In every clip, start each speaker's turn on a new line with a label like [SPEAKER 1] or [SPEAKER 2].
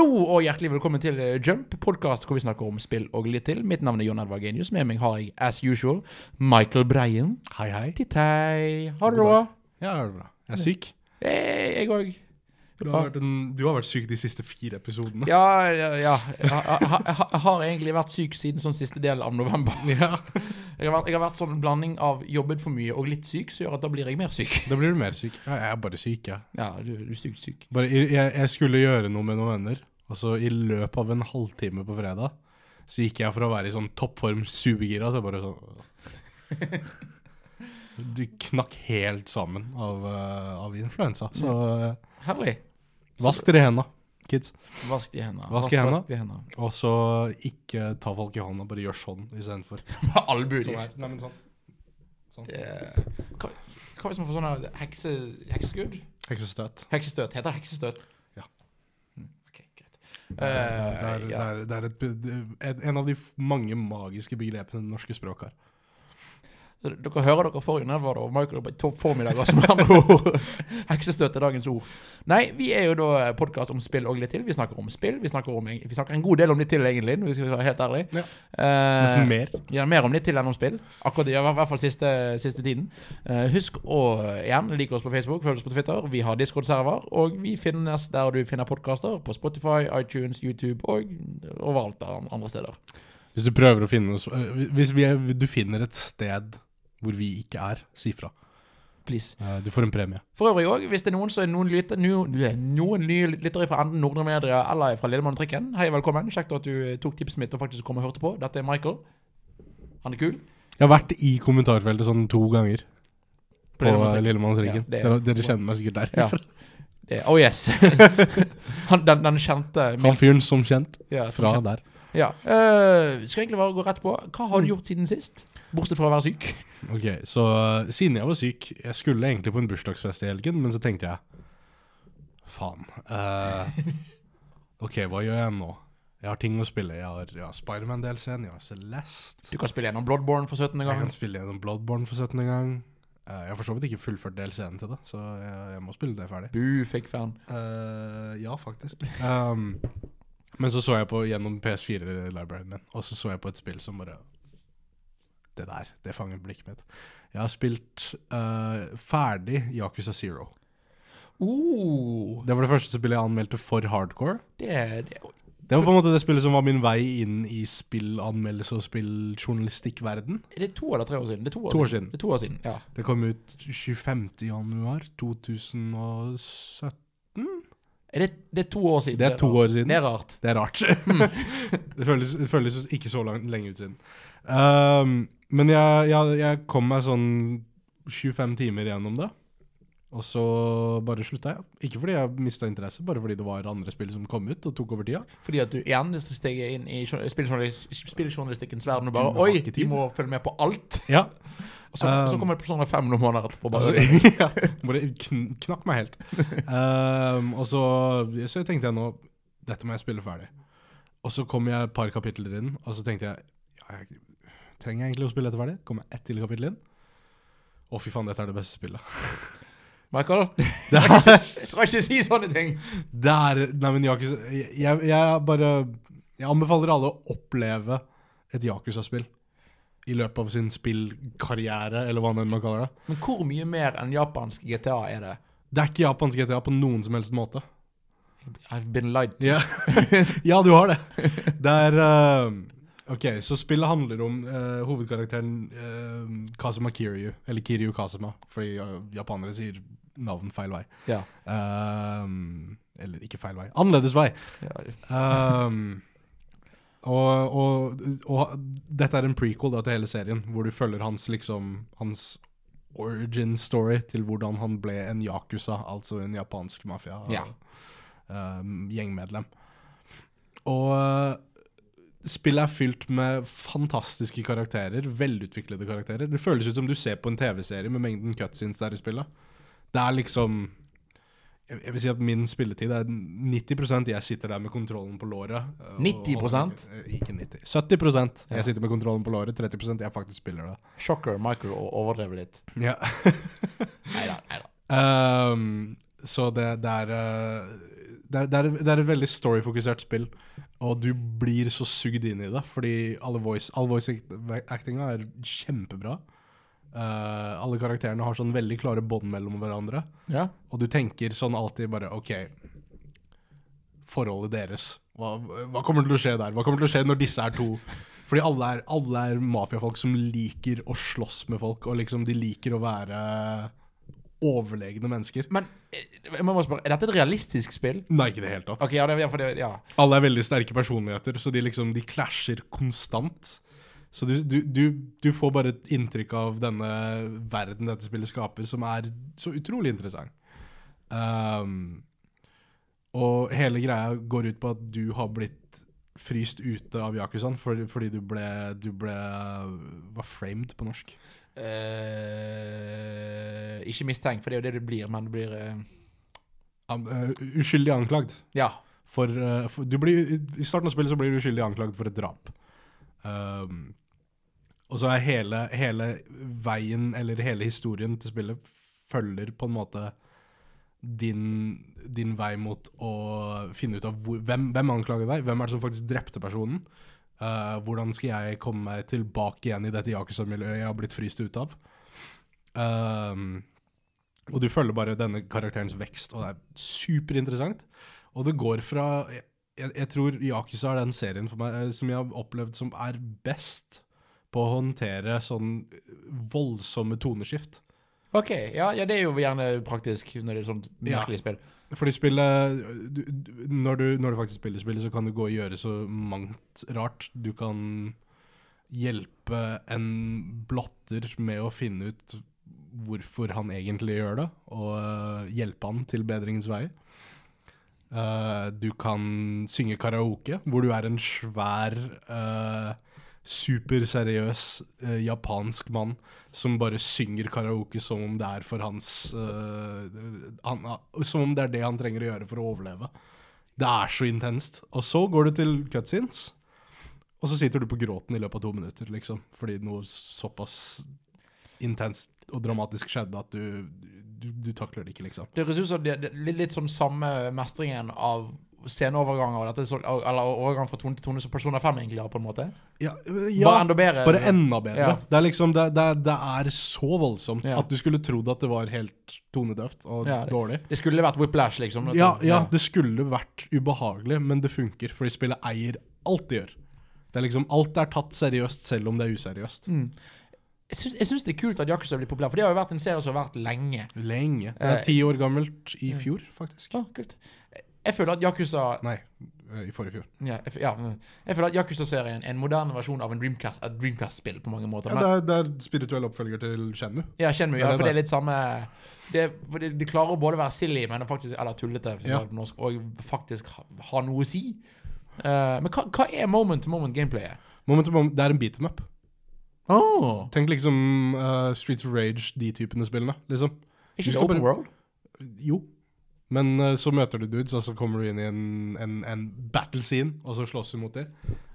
[SPEAKER 1] og hjertelig velkommen til eh, Jump, podkast hvor vi snakker om spill og litt til. Mitt navn er Jon Edvard Genius. Med meg har jeg as usual Michael Breien.
[SPEAKER 2] Hei, hei.
[SPEAKER 1] Tittei. Ha det bra.
[SPEAKER 2] Ja, det er bra. Jeg er syk.
[SPEAKER 1] Hei, Jeg òg.
[SPEAKER 2] Du har, vært en, du har vært syk de siste fire episodene.
[SPEAKER 1] Ja, ja, ja. Jeg har- jeg har- jeg har egentlig vært syk siden sånn siste del av november.
[SPEAKER 2] Ja.
[SPEAKER 1] Jeg har vært, jeg har vært sånn en blanding av jobbet for mye og litt syk, så gjør at da blir jeg mer syk.
[SPEAKER 2] Da blir du mer syk. Ja, jeg er bare syk, jeg.
[SPEAKER 1] Ja, du, du er sykt syk.
[SPEAKER 2] Bare, jeg. Jeg skulle gjøre noe med noen venner, og så i løpet av en halvtime på fredag, så gikk jeg for å være i sånn toppform supergira, så jeg bare sånn Du knakk helt sammen av, eh, av influensa. Så eh,
[SPEAKER 1] Herlig.
[SPEAKER 2] vask dere henda, kids.
[SPEAKER 1] Vask de hendene.
[SPEAKER 2] Vask i hendene.
[SPEAKER 1] Vask de hendene.
[SPEAKER 2] Og så ikke ta folk i hånda, bare gjør sånn istedenfor.
[SPEAKER 1] Med albuer.
[SPEAKER 2] Sånn her. Nei, men sånn.
[SPEAKER 1] Det er- Hva hva hvis man får sånne sånn hekse, hekseskudd?
[SPEAKER 2] Heksestøt.
[SPEAKER 1] Heksestøt. Heter det heksestøt?
[SPEAKER 2] Ja.
[SPEAKER 1] Mm, Ok, greit.
[SPEAKER 2] Det er,
[SPEAKER 1] Eh,
[SPEAKER 2] det
[SPEAKER 1] ja.
[SPEAKER 2] er, det er et, be- et, en av de f- mange magiske begrepene det norske språket har.
[SPEAKER 1] Så d- Dere hører dere får Edvard og Michael på topp formiddag, altså med andre ord. Heksestøt er dagens ord. Nei, vi er jo da podkast om spill og litt til. Vi snakker om spill. Vi snakker, om, vi snakker en god del om litt til, egentlig, hvis vi skal være helt ærlig.
[SPEAKER 2] Ja.
[SPEAKER 1] Eh,
[SPEAKER 2] Nesten mer.
[SPEAKER 1] Gjerne mer om litt til enn om spill. Akkurat i, hvert fall siste, siste tiden. Eh, husk å eh, igjen like oss på Facebook, følg oss på Twitter. Vi har Discord-server, og vi finnes der du finner podkaster. På Spotify, iTunes, YouTube og overalt der andre steder.
[SPEAKER 2] Hvis du prøver å finne oss eh, Hvis vi er, du finner et sted hvor vi ikke er, si fra.
[SPEAKER 1] Please.
[SPEAKER 2] Eh, Du får en premie.
[SPEAKER 1] For øvrig òg, hvis det er noen som er noen, lytter, nu- noen nye lyttere fra enten Nordre Media eller fra Lillemann og Trikken, hei, velkommen. Kjekt at du eh, tok tipset mitt og faktisk kom og hørte på. Dette er Michael. Han er kul.
[SPEAKER 2] Jeg har vært i kommentarfeltet sånn to ganger på
[SPEAKER 1] Lillemann-trikken.
[SPEAKER 2] Lillemannsryggen.
[SPEAKER 1] Ja, det er-
[SPEAKER 2] dere, dere kjenner meg sikkert der.
[SPEAKER 1] Ja. Det- Oh yes. Han, den, den kjente
[SPEAKER 2] Han fyren som kjent
[SPEAKER 1] ja, som
[SPEAKER 2] fra
[SPEAKER 1] kjent.
[SPEAKER 2] der.
[SPEAKER 1] Ja. eh, skal egentlig bare gå rett på. Hva har
[SPEAKER 2] Mm.
[SPEAKER 1] du gjort siden sist? Bortsett fra å være syk.
[SPEAKER 2] Ok, Så eh, siden jeg var syk Jeg skulle egentlig på en bursdagsfest i helgen, men så tenkte jeg Faen. eh, ok, hva gjør jeg nå? Jeg har ting å spille. Jeg har, jeg har Spiderman-delscenen, jeg har Celeste.
[SPEAKER 1] Du kan spille gjennom Bloodborne for 17.
[SPEAKER 2] Jeg
[SPEAKER 1] gang.
[SPEAKER 2] kan spille gjennom Bloodborne for 17. gang. Eh, jeg har for så vidt ikke fullført delscenen til det, så jeg, jeg må spille det ferdig.
[SPEAKER 1] Bu, fikk fan.
[SPEAKER 2] Eh, ja, faktisk. Um, men så så jeg på gjennom PS4-libraryen min, og så så jeg på et spill som bare Det der, det fanger blikket mitt. Jeg har spilt eh, ferdig Yakuza Zero.
[SPEAKER 1] Oh,
[SPEAKER 2] Det var det første spillet jeg anmeldte for hardcore.
[SPEAKER 1] det, det
[SPEAKER 2] Det var på en måte det spillet som var min vei inn i spillanmeldelse og spilljournalistikkverden.
[SPEAKER 1] Er det to eller tre år siden? Det er to år,
[SPEAKER 2] To år
[SPEAKER 1] siden.
[SPEAKER 2] siden.
[SPEAKER 1] Det er to år siden, ja.
[SPEAKER 2] Det kom ut 25. januar 2017.
[SPEAKER 1] Er det, det er to år siden.
[SPEAKER 2] Det er to
[SPEAKER 1] rart.
[SPEAKER 2] år siden.
[SPEAKER 1] Det er rart.
[SPEAKER 2] Det er rart. det, føles, det føles ikke så langt, lenge ut siden. Ehm, men jeg, jeg, jeg kom meg sånn 25 timer gjennom det. Og så bare slutta jeg. Ikke fordi jeg mista interesse, bare fordi det var andre spill som kom ut og tok over tida.
[SPEAKER 1] Fordi at du igjen steg inn i jour- spilljournalis- spilljournalistikkens verden og bare
[SPEAKER 2] Du har
[SPEAKER 1] Oi,
[SPEAKER 2] ikke
[SPEAKER 1] vi
[SPEAKER 2] tid."
[SPEAKER 1] må følge med på alt!
[SPEAKER 2] Ja,
[SPEAKER 1] Og så,
[SPEAKER 2] Um,
[SPEAKER 1] så kommer Persona 5 noen måneder etterpå. Bare,
[SPEAKER 2] altså, ja, bare kn knakk meg helt. Ehm, og så, så tenkte jeg nå Dette må jeg spille ferdig. Og så kom jeg et par kapitler inn, og så tenkte jeg ja, jeg Trenger jeg egentlig å spille dette ferdig? Kom jeg ett til kapittel inn? Å, fy faen, dette er det beste spillet.
[SPEAKER 1] Michael,
[SPEAKER 2] Det er,
[SPEAKER 1] du kan ikke si sånne ting!
[SPEAKER 2] det er Nei, men Yakuza jeg, jeg bare Jeg anbefaler alle å oppleve et Yakuza-spill i løpet av sin spillkarriere, eller hva enn man kaller det.
[SPEAKER 1] Men hvor mye mer enn japansk GTA er det?
[SPEAKER 2] Det er ikke japansk GTA på noen som helst måte.
[SPEAKER 1] I've been lied to.
[SPEAKER 2] Ja, ja du har det. Det er eh, OK, så spillet handler om eh, hovedkarakteren eh, Kazuma Kiryu, eller Kiryu Kazuma, fordi eh, japanere sier navn feil vei.
[SPEAKER 1] Ja.
[SPEAKER 2] Ehm, eller ikke feil vei. Annerledes vei.
[SPEAKER 1] ja.
[SPEAKER 2] Ehm, og, og, og dette er en prequel da, til hele serien, hvor du følger hans, liksom, hans origin story til hvordan han ble en yakuza, altså en japansk mafia
[SPEAKER 1] Ja.
[SPEAKER 2] ehm, gjengmedlem. Og spillet er fylt med fantastiske karakterer, velutviklede karakterer. Det føles ut som du ser på en TV-serie med mengden cutscenes der i spillet. Det er liksom jeg jeg vil si at min spilletid er 90 jeg sitter der med kontrollen på låret. øh, og-
[SPEAKER 1] 90%?
[SPEAKER 2] Eh, Ikke 90. 70
[SPEAKER 1] Ja.
[SPEAKER 2] jeg sitter med kontrollen på låret. 30 jeg faktisk spiller det.
[SPEAKER 1] Shocker, Michael o- overdrev litt.
[SPEAKER 2] Ja.
[SPEAKER 1] Neida, neida.
[SPEAKER 2] Ehm, så det, det er eh, det, er- det, er, det er et veldig storyfokusert spill, og du blir så sugd inn i det. Fordi alle voice, all voice act- actinga er kjempebra. Eh, alle karakterene har sånn veldig klare bånd mellom hverandre.
[SPEAKER 1] Ja.
[SPEAKER 2] Og du tenker sånn alltid bare OK, forholdet deres. Hva, hva kommer til å skje der? Hva kommer til å skje når disse er to? Fordi alle er, alle er mafiafolk som liker å slåss med folk, og liksom de liker å være overlegne mennesker.
[SPEAKER 1] Men eh, jeg må bare spørre, er dette et realistisk spill?
[SPEAKER 2] Nei, ikke i det hele tatt.
[SPEAKER 1] Ok, ja, det, ja, for det, ja.
[SPEAKER 2] Alle er veldig sterke personligheter, så de liksom de klasjer konstant. Så du, du, du, du får bare et inntrykk av denne verden dette spillet skaper, som er så utrolig interessant. Ehm, og hele greia går ut på at du har blitt fryst ute av Yakuzaen fordi, fordi du ble Du ble Var framed på norsk?
[SPEAKER 1] Eh, ikke mistenkt, for det er jo det du blir, men du blir eh,
[SPEAKER 2] Am- eh, uskyldig anklagd.
[SPEAKER 1] Ja.
[SPEAKER 2] For, eh, for du blir, I starten av spillet så blir du uskyldig anklagd for et drap. Ehm, og så er hele, hele veien, eller hele historien til spillet, følger på en måte din, din vei mot å finne ut av hvor, hvem, hvem anklager deg, hvem er det som faktisk drepte personen. Eh, hvordan skal jeg komme meg tilbake igjen i dette Yakuza-miljøet jeg har blitt fryst ut av? Ehm, og du følger bare denne karakterens vekst, og det er superinteressant. Og det går fra Jeg, jeg jeg tror Yakuza er den serien for meg eh, som jeg har opplevd som er best på å håndtere sånn voldsomme toneskift.
[SPEAKER 1] OK. Ja, ja, det er jo gjerne praktisk når det er sånt
[SPEAKER 2] Ja.
[SPEAKER 1] merkelig spill.
[SPEAKER 2] Fordi spillet du, du- når, du, når du faktisk spiller spillet, så kan du gå og gjøre så mangt rart. Du kan hjelpe en blotter med å finne ut hvorfor han egentlig gjør det, og øh, hjelpe han til bedringens vei. Eh, du kan synge karaoke, hvor du er en svær, eh, superseriøs eh, japansk mann som bare synger karaoke som om det er for hans eh, han, Som om det er det han trenger å gjøre for å overleve. Det er så intenst. Og så går du til cutscenes, og så sitter du på gråten i løpet av to minutter, liksom. Fordi noe såpass intenst og dramatisk skjedde at du, du, du takler det ikke, liksom.
[SPEAKER 1] Det høres ut som det, det, litt, litt som samme mestringen av sceneoverganger, og dette, så- eller overgang fra tone til tone, som Persona 5 egentlig har, på en måte.
[SPEAKER 2] Ja,
[SPEAKER 1] Bare enda bedre.
[SPEAKER 2] Bare enda bedre.
[SPEAKER 1] Ja.
[SPEAKER 2] Det, er liksom, det, det, det er så voldsomt
[SPEAKER 1] Ja.
[SPEAKER 2] at du skulle trodd at det var helt tonedøvt og
[SPEAKER 1] Ja, det-
[SPEAKER 2] dårlig.
[SPEAKER 1] Det skulle vært whiplash, liksom. vet du.
[SPEAKER 2] Ja, ja, det skulle vært ubehagelig, men det funker, fordi spillet eier alt det gjør. Det er liksom, alt er tatt seriøst, selv om det er useriøst.
[SPEAKER 1] Mm. Jeg syns- Jeg syns det er kult at Yakuza blir populær, for det har jo vært en serie som har vært lenge.
[SPEAKER 2] Lenge. Det
[SPEAKER 1] Eh,
[SPEAKER 2] er ti år gammelt i fjor, faktisk.
[SPEAKER 1] Ja, kult. Jeg føler at Yakuza
[SPEAKER 2] Nei, eh, i forrige fjor.
[SPEAKER 1] ja, jeg, ja, jeg føler at Yakuza-serien er en moderne versjon av en Dreamcast, et Dreamcast-spill på mange måter.
[SPEAKER 2] Ja,
[SPEAKER 1] Men,
[SPEAKER 2] det, er, det er spirituell oppfølger til Shenmue.
[SPEAKER 1] ja, kjenner vi,
[SPEAKER 2] Ja,
[SPEAKER 1] ja,
[SPEAKER 2] det er
[SPEAKER 1] for det er
[SPEAKER 2] det.
[SPEAKER 1] litt samme det, for det, De klarer å både være silly, men faktisk, eller tullete, hvis vi
[SPEAKER 2] Ja.
[SPEAKER 1] tar det på norsk, og faktisk ha, ha noe å si. Eh, men hva, hva er moment to moment gameplayet?
[SPEAKER 2] Moment to moment, det er en beat em up.
[SPEAKER 1] Oh,
[SPEAKER 2] Tenk liksom eh, Streets of Rage, de typene spillene, liksom.
[SPEAKER 1] ikke
[SPEAKER 2] Du
[SPEAKER 1] det
[SPEAKER 2] skal
[SPEAKER 1] Open
[SPEAKER 2] bare-
[SPEAKER 1] World?
[SPEAKER 2] Jo. Men eh, så møter du dudes, og så kommer du inn i en, en, en battle scene, og så slåss du mot dem.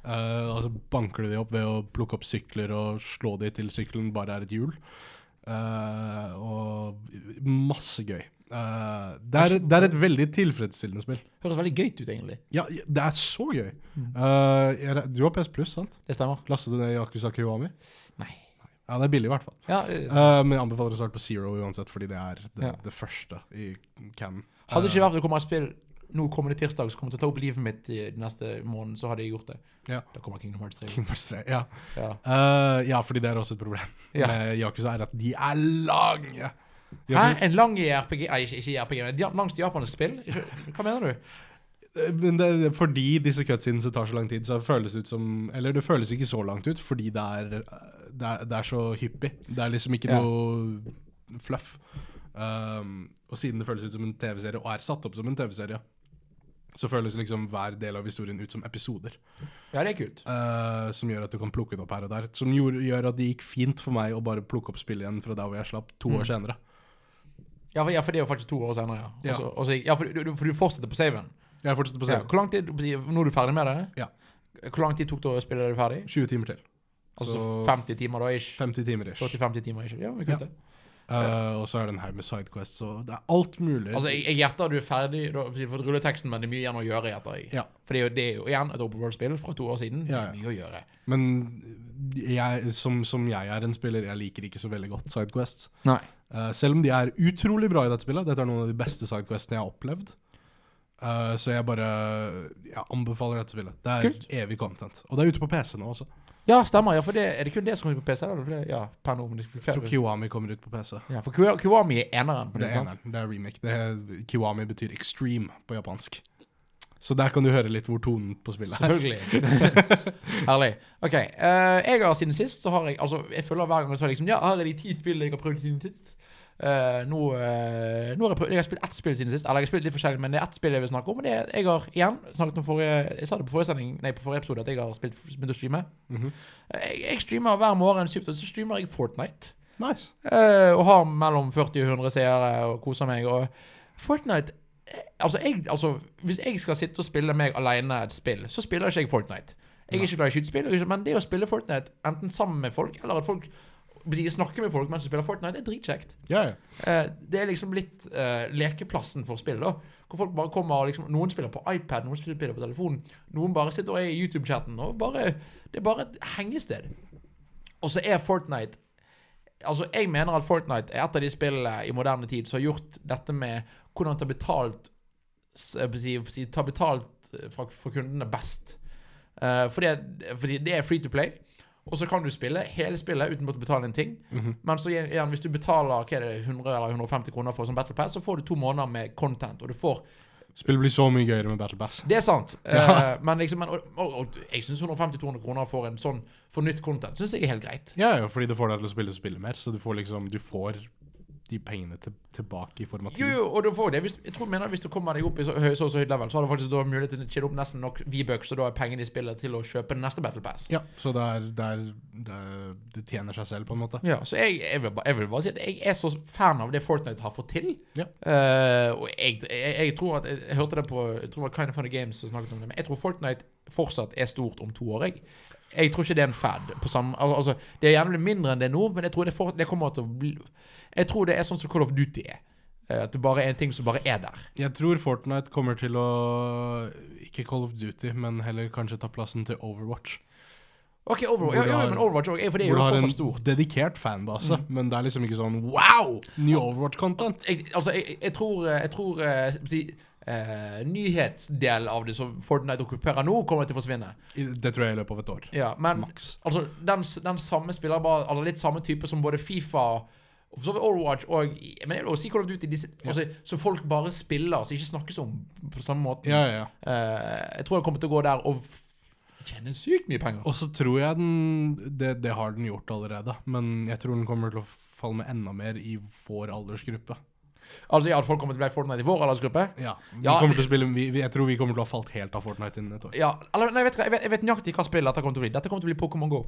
[SPEAKER 2] Eh, og så banker du dem opp ved å plukke opp sykler og slå dem til sykkelen bare er et hjul. Eh, og masse gøy. Eh, det, er, det er et veldig tilfredsstillende spill.
[SPEAKER 1] Høres veldig gøy ut, egentlig.
[SPEAKER 2] Ja, det er så gøy! Eh, jeg re- du har PS Pluss, sant?
[SPEAKER 1] Det stemmer.
[SPEAKER 2] Lastet du ned Yakuza Kiwami?
[SPEAKER 1] Nei.
[SPEAKER 2] Ja, det er billig i hvert fall.
[SPEAKER 1] Ja, eh,
[SPEAKER 2] Eh, men jeg anbefaler å starte på Zero uansett, fordi det er det,
[SPEAKER 1] Ja.
[SPEAKER 2] det første i canon.
[SPEAKER 1] hadde det
[SPEAKER 2] Eh,
[SPEAKER 1] ikke vært at det kommer et spill nå kommende tirsdag som kommer til å ta opp livet mitt i neste måned, så hadde jeg gjort det.
[SPEAKER 2] Ja.
[SPEAKER 1] Da kommer Kingdom Hearts 3.
[SPEAKER 2] Kingdom Hearts 3, ja.
[SPEAKER 1] Ja.
[SPEAKER 2] Eh, ja, fordi det er også et problem
[SPEAKER 1] Ja.
[SPEAKER 2] med Yakuza, er at de er lange.
[SPEAKER 1] Hæ?
[SPEAKER 2] Yakuza-
[SPEAKER 1] En lang i RPG Nei, ikke, ikke i RPG, men et langt japansk spill? Ikke- Hva mener du?
[SPEAKER 2] Eh, Men det, fordi disse cutscenes tar så lang tid, så føles det ut som Eller det føles ikke så langt ut, fordi det er, eh, det er, det er så hyppig. Det er liksom ikke
[SPEAKER 1] Ja.
[SPEAKER 2] noe fluff. Um, og siden det føles ut som en TV-serie, og er satt opp som en TV-serie, så føles liksom hver del av historien ut som episoder.
[SPEAKER 1] Ja, det er kult.
[SPEAKER 2] eh, som gjør at du kan plukke det opp her og der. Som gjorde, gjør at det gikk fint for meg å bare plukke opp spillet igjen fra der hvor jeg slapp, to
[SPEAKER 1] Mm.
[SPEAKER 2] år senere.
[SPEAKER 1] Ja, for, ja, for det er jo faktisk to år senere, ja.
[SPEAKER 2] Ja.
[SPEAKER 1] Og så- og så- ja for, du, du- for du fortsetter på saven.
[SPEAKER 2] Jeg fortsetter på
[SPEAKER 1] Ja.
[SPEAKER 2] serien.
[SPEAKER 1] Hvor lang tid, Nå er du ferdig med det?
[SPEAKER 2] Ja.
[SPEAKER 1] Hvor lang tid tok det å spille det ferdig?
[SPEAKER 2] 20 timer til.
[SPEAKER 1] Altså
[SPEAKER 2] Så
[SPEAKER 1] 50 timer, da? ish?
[SPEAKER 2] 50 timer ish.
[SPEAKER 1] 40-50 timer, ish? Ja, men kult
[SPEAKER 2] Ja.
[SPEAKER 1] det.
[SPEAKER 2] Eh, og så er det en haug med sidequests, og det er alt mulig.
[SPEAKER 1] Altså, jeg, jeg gjetter du er ferdig da, for å rulle teksten, men det er mye igjen å gjøre, gjetter jeg.
[SPEAKER 2] Ja.
[SPEAKER 1] For det er jo, det er jo igjen et open world-spill fra to år siden. Det
[SPEAKER 2] Ja,
[SPEAKER 1] er
[SPEAKER 2] ja.
[SPEAKER 1] mye å gjøre.
[SPEAKER 2] Men jeg, som, som jeg er en spiller, jeg liker ikke så veldig godt sidequests.
[SPEAKER 1] Nei.
[SPEAKER 2] Eh, selv om de er utrolig bra i dette spillet. Dette er noen av de beste sidequestene jeg har opplevd. Eh, så jeg bare jeg anbefaler dette spillet. Det er
[SPEAKER 1] Kult.
[SPEAKER 2] evig content. Og det er ute på PC nå også.
[SPEAKER 1] Ja, stemmer. Ja, for det, er det kun det som kommer på PC? Eller? er det flere? Ja, per nå. men det er
[SPEAKER 2] Jeg tror
[SPEAKER 1] flere-
[SPEAKER 2] Kiwami kommer ut på PC.
[SPEAKER 1] Ja, for Kiwa- Kiwami er eneren på
[SPEAKER 2] Det
[SPEAKER 1] det,
[SPEAKER 2] er,
[SPEAKER 1] sant?
[SPEAKER 2] eneren. det er remake. Det er, Kiwami betyr extreme på japansk. Så der kan du høre litt hvor tonen på spillet er.
[SPEAKER 1] Selvfølgelig. Herlig. OK. eh, jeg har siden sist, så har jeg altså Jeg føler hver gang så er det liksom Ja, her er de ti spillene jeg har prøvd siden sist. Eh, nå, eh, nå har jeg, prøvd, jeg har spilt ett spill siden sist. Eller jeg har spilt litt forskjellig, men det er ett spill jeg vil snakke om. Og det er, jeg har igjen snakket om forrige Jeg sa det på forrige sending Nei, på forrige episode at jeg har spilt, begynt å streame.
[SPEAKER 2] Mhm.
[SPEAKER 1] Eh, jeg, jeg streamer hver morgen syv til, så streamer jeg Fortnite.
[SPEAKER 2] Nice.
[SPEAKER 1] Eh, og har mellom 40 og 100 seere og koser meg. Og Fortnite eh, altså, jeg, altså, hvis jeg skal sitte og spille meg alene et spill, så spiller ikke jeg Fortnite. Jeg er ikke glad i skytespill, og ikke- men det å spille Fortnite enten sammen med folk, eller at folk snakker med folk mens du spiller Fortnite, er dritkjekt.
[SPEAKER 2] Ja, ja.
[SPEAKER 1] Eh, det er liksom litt eh, lekeplassen for spill, da. Hvor folk bare kommer og liksom, Noen spiller på iPad, noen spiller på telefon. Noen bare sitter og er i YouTube-chatten. og bare, Det er bare et hengested. Og så er Fortnite Altså, Jeg mener at Fortnite er et av de spillene i moderne tid som har gjort dette med hvordan ta betalt s- eh, på å si- på å si, Ta betalt eh, fra, fra kundene best. Eh, fordi, fordi det er free to play, og så kan du spille hele spillet uten å måtte betale en ting. Men så igjen, igjen, hvis du betaler hva er det, 100 eller 150 kroner for som Battle Pass, så får du to måneder med content. Og du får
[SPEAKER 2] Spillet blir så mye gøyere med Battle Pass.
[SPEAKER 1] Det er sant.
[SPEAKER 2] Ja.
[SPEAKER 1] Eh, men liksom, men, og, og, og jeg syns 150-200 kroner for en sånn for nytt content synes jeg er helt greit.
[SPEAKER 2] Ja, ja, fordi det får deg til å spille spillet mer, så du får liksom Du får de pengene til, tilbake i form av tid.
[SPEAKER 1] Jo, jo, og du får det. Hvis, jeg tror, mener, hvis du kommer deg opp i så høy, så, og så høyt level, så har du faktisk da mulighet til å tjene opp nesten nok V-bucks, og da er pengene i spillet til å kjøpe neste Battle Pass.
[SPEAKER 2] Ja, så det er, det, er, det, er, det tjener seg selv, på en måte.
[SPEAKER 1] Ja, så jeg, jeg, vil bare, jeg vil bare si at jeg er så fan av det Fortnite har fått til.
[SPEAKER 2] Ja.
[SPEAKER 1] Eh, og jeg, jeg, jeg tror at jeg, jeg hørte det på jeg tror det var Kind of Funny Games som snakket om det, men jeg tror Fortnite fortsatt er stort om to år. Jeg, jeg tror ikke det er en fad. På samme, al- altså, det er gjerne mindre enn det er nå, men jeg tror det, for, det kommer til å bli Jeg tror det er sånn som Call of Duty er. Eh, At det bare er en ting som bare er der.
[SPEAKER 2] Jeg tror Fortnite kommer til å Ikke Call of Duty, men heller kanskje ta plassen til Overwatch.
[SPEAKER 1] Ok, Overwatch,
[SPEAKER 2] Hvor
[SPEAKER 1] ja,
[SPEAKER 2] du
[SPEAKER 1] ja,
[SPEAKER 2] har-
[SPEAKER 1] men Overwatch også, for det er jo
[SPEAKER 2] Hvor du har en
[SPEAKER 1] fortsatt stort. Mm.
[SPEAKER 2] dedikert fanbase, men det er liksom ikke sånn Wow! Ny Overwatch-content!
[SPEAKER 1] jeg, altså, jeg, jeg tror, jeg tror eh, si, eh, Nyhetsdelen av det som Fortnite okkuperer nå, kommer til å forsvinne.
[SPEAKER 2] I- Det tror jeg i løpet av et år.
[SPEAKER 1] Ja, men
[SPEAKER 2] Maks.
[SPEAKER 1] altså, den, s- den samme spiller bare altså, litt samme type som både Fifa og for så vidt Overwatch og Men jeg vil også si Call of Duty. Disse, altså, så folk bare spiller, så ikke snakkes om på samme måte.
[SPEAKER 2] Ja, ja, ja.
[SPEAKER 1] jeg tror jeg kommer til å gå der og f- tjene sykt mye penger.
[SPEAKER 2] Og så tror jeg den det, det har den gjort allerede, men jeg tror den kommer til å falle med enda mer i vår aldersgruppe.
[SPEAKER 1] Altså, ja, at folk kommer til å bli Fortnite i vår aldersgruppe.
[SPEAKER 2] Ja. Vi
[SPEAKER 1] Ja,
[SPEAKER 2] kommer til å spille, vi, vi, jeg tror vi kommer til å ha falt helt av Fortnite innen et år.
[SPEAKER 1] Ja, eller nei, vet du hva, jeg vet, jeg vet nøyaktig hva spill dette kommer til å bli. Dette kommer til å bli Pokémon GO.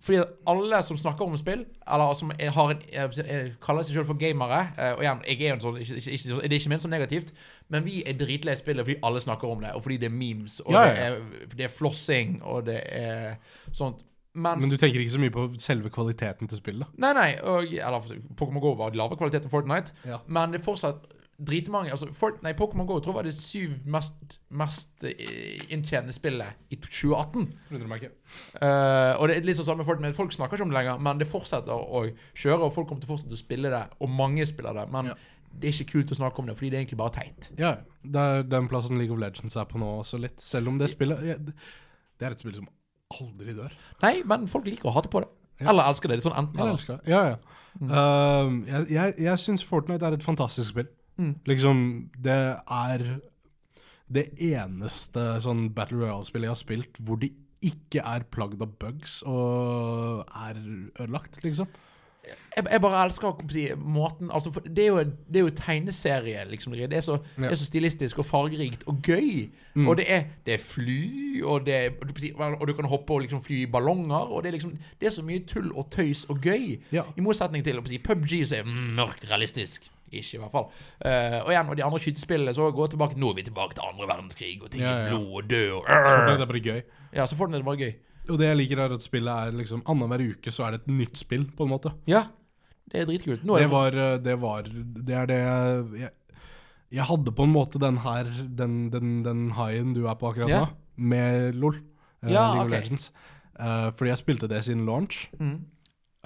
[SPEAKER 1] Fordi at alle som snakker om spill, eller som er- har en, eh, jeg, jeg kaller seg selv for gamere eh, Og igjen, jeg er jo en sånn, ikke, ikke, ikke, det er ikke ment som negativt, men vi er dritlei spillet fordi alle snakker om det, og fordi det er memes, og
[SPEAKER 2] Ja, ja,
[SPEAKER 1] Det, er, det er flossing, og det er sånt. Mens
[SPEAKER 2] Men du tenker ikke så mye på selve kvaliteten til spillet.
[SPEAKER 1] Nei, nei, og, eller Pokémon GO var lavere kvalitet enn Fortnite,
[SPEAKER 2] Ja.
[SPEAKER 1] men det er fortsatt dritmange altså, Fort- Nei, Pokémon GO tror jeg var det syv mest, mest eh, inntjenende spillet i 2018.
[SPEAKER 2] Forundrer meg ikke.
[SPEAKER 1] Eh, og det er litt sånn samme med Fortnite. Folk snakker ikke om det lenger, men det fortsetter å kjøre, og folk kommer til å fortsette å spille det, og mange spiller det, men
[SPEAKER 2] Ja.
[SPEAKER 1] det er ikke kult å snakke om det, fordi det er egentlig bare teit.
[SPEAKER 2] Ja, det er den plassen League of Legends er på nå også litt. Selv om det spillet ja, det- Det er et spill som aldri dør.
[SPEAKER 1] Nei, men folk liker å hate på det.
[SPEAKER 2] Ja.
[SPEAKER 1] Eller elsker det. Det er sånn enten
[SPEAKER 2] Jeg
[SPEAKER 1] eller.
[SPEAKER 2] elsker det. Ja, ja.
[SPEAKER 1] Mm.
[SPEAKER 2] Um, jeg jeg, jeg syns Fortnite er et fantastisk spill.
[SPEAKER 1] Mm.
[SPEAKER 2] Liksom, det er det eneste sånn Battle Royale-spillet jeg har spilt hvor de ikke er plagd av bugs og er ødelagt, liksom.
[SPEAKER 1] Jeg, jeg bare elsker å si, måten altså, for det, er jo, det er jo tegneserie, liksom. Det er, så, det er så stilistisk og fargerikt og gøy.
[SPEAKER 2] Mm.
[SPEAKER 1] Og det er, det er fly, og, det, er- og, du, og du kan hoppe og liksom fly i ballonger. Og det, er liksom, det er så mye tull og tøys og gøy.
[SPEAKER 2] Ja.
[SPEAKER 1] I motsetning til å si, PubG, som er mørkt realistisk. Ikke, i hvert fall. Eh, og igjen, og de andre skytespillene, så går jeg tilbake Nå er vi tilbake til andre verdenskrig, og ting
[SPEAKER 2] Ja,
[SPEAKER 1] er
[SPEAKER 2] ja.
[SPEAKER 1] blod og død og
[SPEAKER 2] Fortnite er bare gøy.
[SPEAKER 1] Ja, så Fortnite var gøy.
[SPEAKER 2] Og det jeg liker, er at spillet er liksom annenhver uke så er det et nytt spill, på en måte.
[SPEAKER 1] Ja. Det er dritkult. Nå er
[SPEAKER 2] Det
[SPEAKER 1] det,
[SPEAKER 2] var, eh, det var Det er det jeg- jeg Jeg hadde på en måte den her Den, den, den haien du er på akkurat
[SPEAKER 1] Ja.
[SPEAKER 2] nå, med LOL. eh,
[SPEAKER 1] Ja,
[SPEAKER 2] League of
[SPEAKER 1] ok.
[SPEAKER 2] Legends. Eh, fordi jeg spilte det siden launch.
[SPEAKER 1] Mm.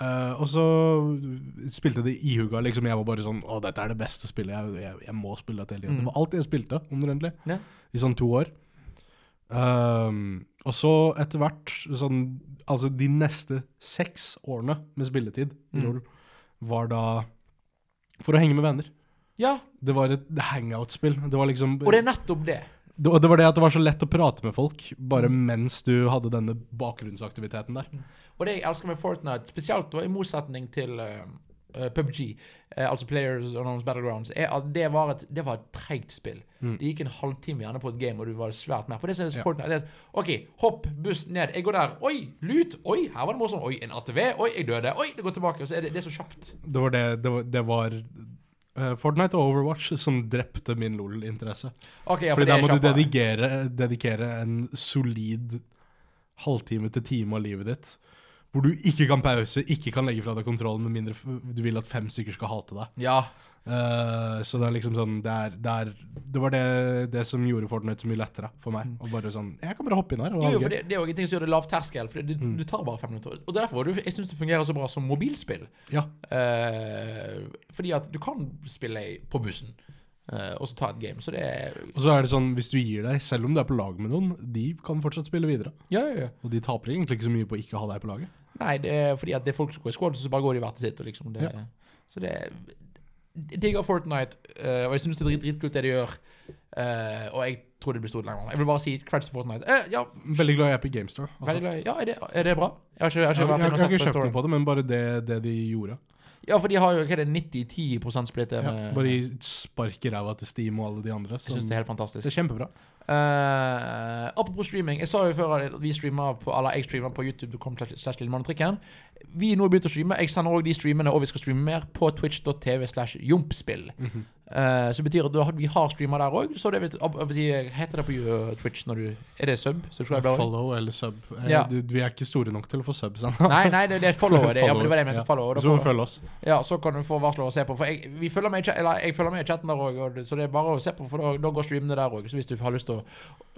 [SPEAKER 2] Eh, og så spilte det ihuga, liksom. Jeg var bare sånn Å, dette er det beste spillet. Jeg, jeg, jeg må spille dette hele tiden. Det var alt jeg spilte, omtrentlig.
[SPEAKER 1] Mm. Ja.
[SPEAKER 2] I sånn to år. Ehm, og så etter hvert, sånn Altså de neste seks årene med spilletid
[SPEAKER 1] Mm.
[SPEAKER 2] i LOL var da for å henge med venner.
[SPEAKER 1] Ja,
[SPEAKER 2] Det var et hangout-spill. Det var liksom
[SPEAKER 1] og det er nettopp det.
[SPEAKER 2] det, og det var det at det var så lett å prate med folk, bare mens du hadde denne bakgrunnsaktiviteten der.
[SPEAKER 1] Og det jeg elsker med Fortnite, spesielt da, i motsetning til eh, eh, PubG, eh, altså Players Unknowns Battlegrounds, er at det var et, det var et treigt spill.
[SPEAKER 2] Mm.
[SPEAKER 1] Det gikk en halvtime gjerne på et game, og du var svært med. På det som er Fortnite, det er at OK, hopp, buss ned, jeg går der. Oi, lut! Oi, her var det morsomt. Oi, en ATV. Oi, jeg døde. Oi, det går tilbake. Og så er det, det er så kjapt.
[SPEAKER 2] Det var det Det var, det var eh, Fortnite og Overwatch som drepte min LOL-interesse.
[SPEAKER 1] OK, ja, for
[SPEAKER 2] Fordi der
[SPEAKER 1] det
[SPEAKER 2] må
[SPEAKER 1] er
[SPEAKER 2] du
[SPEAKER 1] kjappere.
[SPEAKER 2] dedikere, dedikere en solid halvtime til time av livet ditt. Hvor du ikke kan pause, ikke kan legge fra deg kontrollen, med mindre f- du vil at fem stykker skal hate deg.
[SPEAKER 1] Ja.
[SPEAKER 2] Eh, så det er liksom sånn Det, er, det, er, det var det, det som gjorde Fortnite så mye lettere for meg. Og bare sånn Jeg kan bare hoppe inn her. Og
[SPEAKER 1] Mm. Jo,
[SPEAKER 2] ha
[SPEAKER 1] jo,
[SPEAKER 2] det
[SPEAKER 1] for
[SPEAKER 2] gøy.
[SPEAKER 1] det, det er jo en ting som gjør det lav terskel, for det, det,
[SPEAKER 2] Mm.
[SPEAKER 1] du tar bare fem minutter. Og det er derfor du, jeg syns det fungerer så bra som mobilspill.
[SPEAKER 2] Ja.
[SPEAKER 1] Eh, fordi at du kan spille i- på bussen, eh, og så ta et game. Så det er
[SPEAKER 2] Og så er det sånn, hvis du gir deg, selv om du er på lag med noen, de kan fortsatt spille videre.
[SPEAKER 1] Ja, ja, ja.
[SPEAKER 2] Og de taper egentlig ikke så mye på å ikke ha deg på laget.
[SPEAKER 1] Nei, det er fordi at det er folk som går i squad, så bare går de hvert til sitt. Og liksom det, Så det er jeg digger Fortnite, eh, og jeg syns det er drit, dritkult det de gjør. Eh, og jeg tror det blir stort lenger. Jeg vil bare si creds til Fortnite. Eh, ja,
[SPEAKER 2] Veldig glad i Epic Game Store. Altså.
[SPEAKER 1] veldig glad i- ja er, det, er det bra? Jeg har ikke, jeg har ikke vært
[SPEAKER 2] Jeg, jeg, jeg,
[SPEAKER 1] inne og
[SPEAKER 2] har
[SPEAKER 1] sett
[SPEAKER 2] ikke
[SPEAKER 1] på
[SPEAKER 2] kjøpt
[SPEAKER 1] storyen.
[SPEAKER 2] noe på det, men bare det, det de gjorde.
[SPEAKER 1] Ja, for de har jo hva er det, 90-10 %-splitt.
[SPEAKER 2] Ja,
[SPEAKER 1] med-
[SPEAKER 2] bare
[SPEAKER 1] eh, jeg
[SPEAKER 2] gi spark i sånn- ræva til Steam og alle de andre. Som,
[SPEAKER 1] syns det er helt fantastisk.
[SPEAKER 2] det er kjempebra.
[SPEAKER 1] Eh, apropos streaming. Jeg sa jo før at vi streamer på, eller jeg streamer på youtube.com. slash lillemannetrikken. Vi er nå begynt å streame. Jeg sender òg de streamene, og vi skal streame mer, på twitch.tv. slash jompspill. Eh, så det betyr at da har- vi har streamer der òg. Så det er hvis- ab- ab- si, Heter det på eh, Twitch når du Er det sub? Subscribe også?
[SPEAKER 2] Follow eller sub. Eh,
[SPEAKER 1] Ja.
[SPEAKER 2] Du, vi er ikke store nok til å få subs ennå.
[SPEAKER 1] Nei, nei, det, det er follow. Det, ja, men det var det jeg mente.
[SPEAKER 2] Ja.
[SPEAKER 1] Follow. og da
[SPEAKER 2] Så
[SPEAKER 1] follow.
[SPEAKER 2] må du følge oss.
[SPEAKER 1] Ja, så kan du få varsler og se på. For jeg, vi følger med, i chat- eller, jeg følger med i chatten der òg, så det er bare å se på, for da, da går streamene der òg. Så hvis du har lyst til å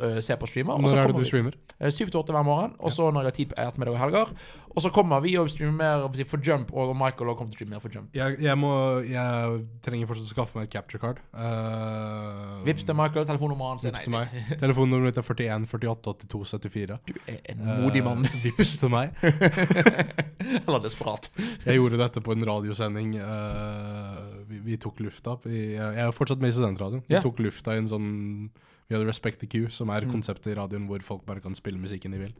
[SPEAKER 1] eh, se på streamer og så
[SPEAKER 2] Når er
[SPEAKER 1] kommer
[SPEAKER 2] det
[SPEAKER 1] vi-
[SPEAKER 2] du streamer?
[SPEAKER 1] Eh, Syv til åtte hver morgen, og så når jeg har tid på ettermiddag og helger. Og så kommer vi og streamer mer hva skal jeg si, for Jump, og Michael også kommer til å streame mer for Jump.
[SPEAKER 2] Jeg, jeg, må, jeg trenger fortsatt å skaffe meg et capture card. Uh,
[SPEAKER 1] Vips til Michael, telefonnummeret hans er
[SPEAKER 2] Vips til
[SPEAKER 1] nei.
[SPEAKER 2] meg. Telefonnummeret mitt er 41 48 82 74.
[SPEAKER 1] Du er en modig mann.
[SPEAKER 2] Eh, vips til meg. Eh.
[SPEAKER 1] Eller desperat.
[SPEAKER 2] Jeg gjorde dette på en radiosending. eh, vi, vi tok lufta opp. i- Jeg er fortsatt med i studentradioen. Vi
[SPEAKER 1] Ja.
[SPEAKER 2] tok lufta i en sånn Vi hadde Respect the Q, som er
[SPEAKER 1] Mm.
[SPEAKER 2] konseptet i radioen hvor folk bare kan spille musikken de vil.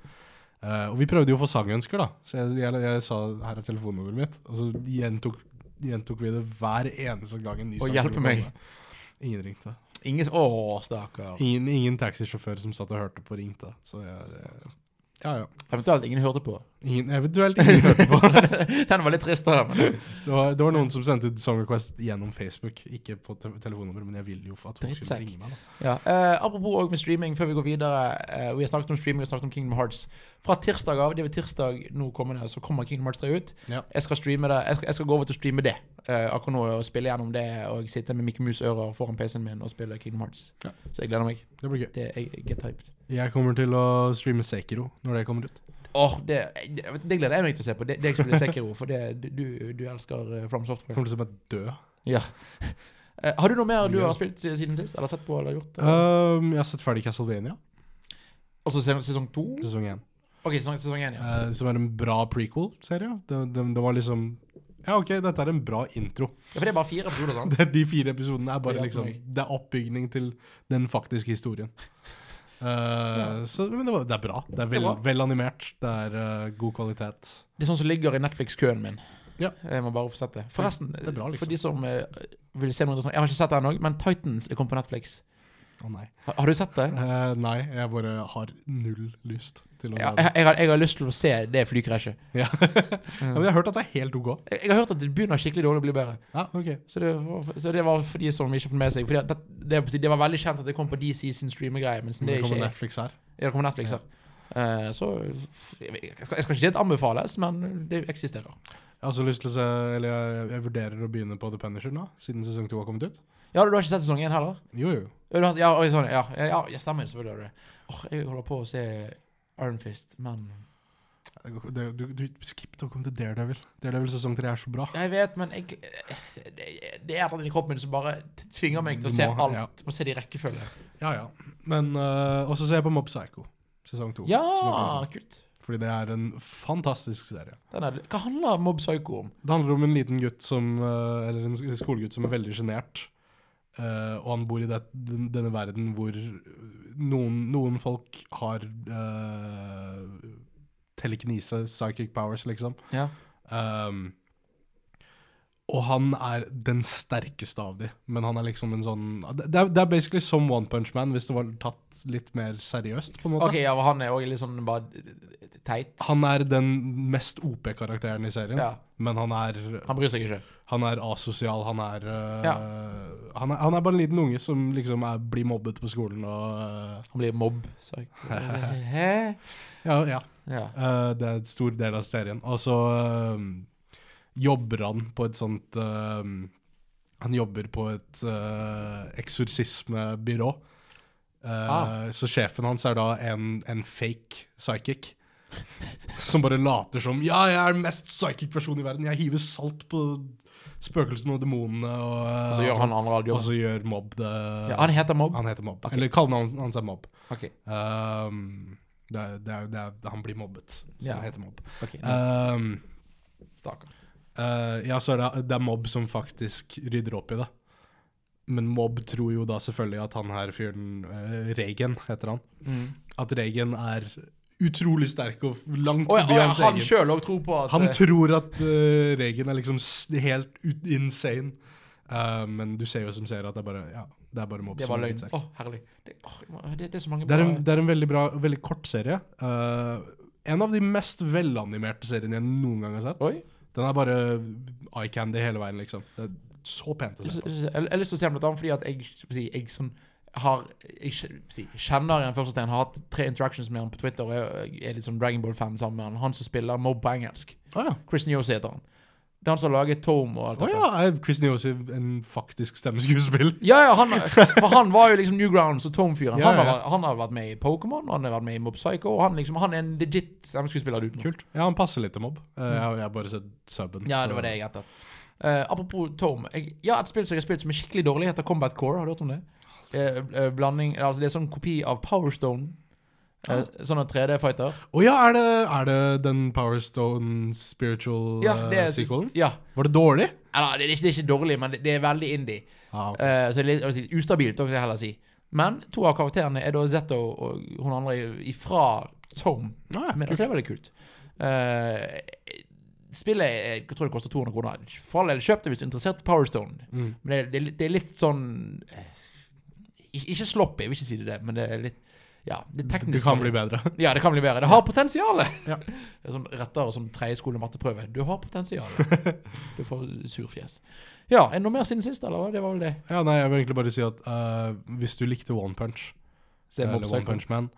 [SPEAKER 2] Eh, og vi prøvde jo å få sangønsker, da. Så jeg, jeg, jeg sa 'her er telefonnummeret mitt', og så gjentok, gjentok vi det hver eneste gang en ny
[SPEAKER 1] Å,
[SPEAKER 2] sang skulle
[SPEAKER 1] hjelpe meg.
[SPEAKER 2] komme. Ingen ringte.
[SPEAKER 1] Ingen Å, stakkar.
[SPEAKER 2] Ingen, ingen taxisjåfør som satt og hørte på, ringte. Så jeg, jeg Ja, ja.
[SPEAKER 1] Eventuelt ingen hørte på.
[SPEAKER 2] Ingen, eventuelt ingen hørte på.
[SPEAKER 1] Den var litt trist, da. Men
[SPEAKER 2] Det var, det var noen som sendte ut Song Request gjennom Facebook, ikke på te telefonnummer, men jeg ville jo at folk skulle
[SPEAKER 1] Drittsekk.
[SPEAKER 2] ringe meg. da.
[SPEAKER 1] ja. eh, apropos òg med streaming, før vi går videre. eh, vi har snakket om streaming og snakket om Kingdom Hearts. Fra tirsdag av, det er vel tirsdag nå kommende, så kommer Kingdom Hearts 3 ut.
[SPEAKER 2] Ja.
[SPEAKER 1] Jeg skal streame det Jeg skal, jeg skal gå over til å streame det eh, akkurat nå, og spille gjennom det, og sitte med Mickey Mouse-ører foran PC-en min og spille Kingdom Hearts.
[SPEAKER 2] Ja.
[SPEAKER 1] Så jeg gleder meg.
[SPEAKER 2] Det blir gøy.
[SPEAKER 1] Det, jeg, jeg er typed.
[SPEAKER 2] Jeg kommer til å streame Sekiro når det kommer ut.
[SPEAKER 1] Åh, det, det, det gleder jeg meg til å se på. Det, det er ikke Sekiro, for det, du, du elsker eh, From
[SPEAKER 2] Jeg
[SPEAKER 1] Software.
[SPEAKER 2] kommer til å se meg dø.
[SPEAKER 1] Ja. Eh, har du noe mer du
[SPEAKER 2] Ja.
[SPEAKER 1] har spilt si- siden sist, eller sett på eller gjort?
[SPEAKER 2] Um, jeg har sett ferdig Castlevania,
[SPEAKER 1] Altså sesong, sesong to?
[SPEAKER 2] sesong én,
[SPEAKER 1] Ok, sesong, sesong én, ja.
[SPEAKER 2] eh, som er en bra prequel-serie. Det, det, det var liksom Ja, OK, dette er en bra intro.
[SPEAKER 1] ja. For det er bare fire episoder, sant?
[SPEAKER 2] Det, de fire episodene er bare
[SPEAKER 1] Det hjelper
[SPEAKER 2] liksom
[SPEAKER 1] meg.
[SPEAKER 2] Det er oppbygning til den faktiske historien. Eh, så, men det, var, det er bra. Det er
[SPEAKER 1] Det
[SPEAKER 2] vel,
[SPEAKER 1] er bra.
[SPEAKER 2] vel animert. Det er eh, god kvalitet.
[SPEAKER 1] Det er sånn som ligger i Netflix-køen min.
[SPEAKER 2] Ja.
[SPEAKER 1] Jeg må bare få sett det. Forresten,
[SPEAKER 2] Det er bra, liksom.
[SPEAKER 1] for de som eh, vil se noe interessant Jeg har ikke sett det ennå, men Titans er kommet på Netflix.
[SPEAKER 2] Å nei.
[SPEAKER 1] Har, har du sett det?
[SPEAKER 2] Eh, nei, jeg bare har null lyst til å
[SPEAKER 1] Ja,
[SPEAKER 2] se
[SPEAKER 1] jeg, jeg, har, jeg har lyst til å se det flykrasjet.
[SPEAKER 2] det. Ja. ja, men jeg har hørt at det er helt OK.
[SPEAKER 1] Jeg, jeg har hørt at det begynner skikkelig dårlig å bli bedre.
[SPEAKER 2] Ja, ok.
[SPEAKER 1] Så det, var, så det var for de som ikke fikk med seg. Fordi at det, det, det var veldig kjent at det kom på DC sin streamegreie. Mens
[SPEAKER 2] Men
[SPEAKER 1] det
[SPEAKER 2] det
[SPEAKER 1] ikke
[SPEAKER 2] kommer
[SPEAKER 1] er
[SPEAKER 2] Netflix her.
[SPEAKER 1] Ja, det kommer Netflix her. Eh, så jeg, vet- jeg skal, jeg skal ikke si at det anbefales, men det eksisterer.
[SPEAKER 2] Jeg har også lyst til å se, eller jeg, jeg vurderer å begynne på The Punisher nå, siden sesong to har kommet ut.
[SPEAKER 1] Ja, du har ikke sett sesong én heller?
[SPEAKER 2] Jo, jo.
[SPEAKER 1] Ja, du har- Ja, oi, sånn, ja, ja, ja, jeg stemmer selvfølgelig. har du det. Åh, jeg holder på å se Iron Fist, men
[SPEAKER 2] Det går- det- Du, du skippet å komme til Daredevil. Daredevil sesong tre er så bra.
[SPEAKER 1] Jeg vet, men jeg, det, det er noe i kroppen min som bare t- tvinger meg til å
[SPEAKER 2] Du
[SPEAKER 1] se
[SPEAKER 2] må-
[SPEAKER 1] alt.
[SPEAKER 2] ja.
[SPEAKER 1] Må se det i rekkefølge.
[SPEAKER 2] Ja, ja. Men øh, også ser jeg på Mob Psycho sesong to. som har
[SPEAKER 1] Ja,
[SPEAKER 2] kommet ut.
[SPEAKER 1] kult.
[SPEAKER 2] Fordi det er en fantastisk serie.
[SPEAKER 1] Den er, hva handler Mob Psycho om?
[SPEAKER 2] Det handler om en liten gutt som, eh, eller en sk- skolegutt som er veldig sjenert. eh, og han bor i det, den, denne verden hvor noen, noen folk har eh, telekinese, psychic powers, liksom.
[SPEAKER 1] Ja.
[SPEAKER 2] Um, og han er den sterkeste av de, men han er liksom en sånn Det det er, det er basically som One Punch Man, hvis det var tatt litt mer seriøst, på en måte.
[SPEAKER 1] Ok, ja, Han er òg litt sånn bare teit.
[SPEAKER 2] Han er den mest OP-karakteren i serien,
[SPEAKER 1] Ja.
[SPEAKER 2] men han er
[SPEAKER 1] Han bryr seg ikke.
[SPEAKER 2] Han er asosial, han er, øh, han er Han er bare en liten unge som liksom er, blir mobbet på skolen og øh,
[SPEAKER 1] Han blir mobb. psycho. Hæ?
[SPEAKER 2] Ja, ja.
[SPEAKER 1] Ja.
[SPEAKER 2] Øh, det er en stor del av serien. Og så øhm, jobber han på et sånt øhm, Han jobber på et øh, eksorsismebyrå. Øh,
[SPEAKER 1] Ah.
[SPEAKER 2] Så sjefen hans er da en, en fake psychic. Som bare later som Ja, jeg er den mest psychic personen i verden. Jeg hiver salt på spøkelsene og demonene. Og, øh,
[SPEAKER 1] Og så gjør han andre all
[SPEAKER 2] Og
[SPEAKER 1] jobben.
[SPEAKER 2] så gjør Mobb det
[SPEAKER 1] Ja, han heter Mob.
[SPEAKER 2] Han heter Mobb.
[SPEAKER 1] Ok.
[SPEAKER 2] Eller kallenavnet hans er Mobb.
[SPEAKER 1] Ok,
[SPEAKER 2] Um, det er, det er, det er, han blir mobbet, så
[SPEAKER 1] Ja.
[SPEAKER 2] han heter Mobb.
[SPEAKER 1] ok, nice.
[SPEAKER 2] Um,
[SPEAKER 1] Stakkar.
[SPEAKER 2] uh, ja, så er det, det er Mobb som faktisk rydder opp i det. Men Mobb tror jo da selvfølgelig at han her fyren uh, Regen heter han.
[SPEAKER 1] Mm.
[SPEAKER 2] At Regen er utrolig sterk og f- langt
[SPEAKER 1] Å ja,
[SPEAKER 2] forbi
[SPEAKER 1] å ja,
[SPEAKER 2] hans
[SPEAKER 1] han
[SPEAKER 2] egen.
[SPEAKER 1] sjøl òg tror på at
[SPEAKER 2] Han
[SPEAKER 1] eh,
[SPEAKER 2] tror at uh, Regen er liksom s- helt ut, insane. Uh, men du ser jo som ser at det er bare, ja, det er bare Mobb
[SPEAKER 1] Det
[SPEAKER 2] som
[SPEAKER 1] var
[SPEAKER 2] er
[SPEAKER 1] løgn.
[SPEAKER 2] litt sterk.
[SPEAKER 1] Å, herlig. Det, åh, jeg må- det, det er så mange
[SPEAKER 2] Det er, en,
[SPEAKER 1] bra-
[SPEAKER 2] det er en veldig bra, veldig kort serie. Eh, en av de mest velanimerte seriene jeg noen gang har sett.
[SPEAKER 1] Oi.
[SPEAKER 2] Den er bare eye candy hele veien, liksom. Det er så pent å
[SPEAKER 1] Jeg
[SPEAKER 2] se på.
[SPEAKER 1] jeg- jeg har lyst til å se om dette, fordi at jeg, skal vi si, jeg sånn har jeg kj- si, kjenner igjen Førstestein, har hatt tre interactions med han på Twitter, og jeg er litt sånn Dragon Ball-fan sammen med han. Han som spiller Mob på engelsk.
[SPEAKER 2] Å ja.
[SPEAKER 1] Chris Njose heter han. Det er han som har laget Tome og alt
[SPEAKER 2] Å
[SPEAKER 1] dette.
[SPEAKER 2] ja, er Chris Neosi en faktisk stemmeskuespiller?
[SPEAKER 1] Ja, ja, han, for han var jo liksom Newgrounds og Tome-fyren.
[SPEAKER 2] Ja,
[SPEAKER 1] Han, har
[SPEAKER 2] ja.
[SPEAKER 1] vært- han har vært med i Pokémon, og han har vært med i Mob Psycho, og han, liksom, han er en legit stemmeskuespiller uten
[SPEAKER 2] Kult. Ja, han passer litt til mobb. Eh, jeg, har- jeg har bare sett subben.
[SPEAKER 1] Mm. Ja,
[SPEAKER 2] Mm, så-
[SPEAKER 1] det var det jeg gjettet. Eh, apropos Tome. Jeg, ja, et spill som jeg har spilt som er skikkelig dårlig, heter Combat Core. Har du hørt om det? Eh, eh, blanding, altså det er sånn kopi av Powerstone.
[SPEAKER 2] Ah.
[SPEAKER 1] Uh, sånn en 3D-fighter.
[SPEAKER 2] Å ja, er det, er det den Powerstone spiritual eh,
[SPEAKER 1] Ja, det er,
[SPEAKER 2] sequelen?
[SPEAKER 1] ja.
[SPEAKER 2] Var det dårlig?
[SPEAKER 1] Eller, det, er ikke, det er ikke dårlig, men det, det er veldig indie.
[SPEAKER 2] Ja, ok.
[SPEAKER 1] Eh, så det er litt, altså, ustabilt, da, vil jeg heller si. Men to av karakterene er da Zetto og hun andre fra Tome.
[SPEAKER 2] Ah, ja,
[SPEAKER 1] Men altså, det er veldig kult. Eh, spillet jeg tror det koster 200 kroner. For all del, kjøp det hvis du er interessert i Powerstone.
[SPEAKER 2] Mm.
[SPEAKER 1] Men det, det, er litt- det er litt sånn eh, ik- Ikke sloppy, jeg vil ikke si det, det, men det er litt Ja, det er teknisk.
[SPEAKER 2] Det kan bli bedre.
[SPEAKER 1] Ja, det kan bli bedre. Det har potensial!
[SPEAKER 2] Ja.
[SPEAKER 1] Det er sånn retter og sånn tredjeskolematteprøve. Du har potensial. Du får surfjes. Ja, er det noe mer siden sist, eller hva? Det var vel det.
[SPEAKER 2] Ja, nei, jeg vil egentlig bare si at eh, hvis du likte One Punch
[SPEAKER 1] Så det er
[SPEAKER 2] eller
[SPEAKER 1] mobsøk.
[SPEAKER 2] One Punch Man.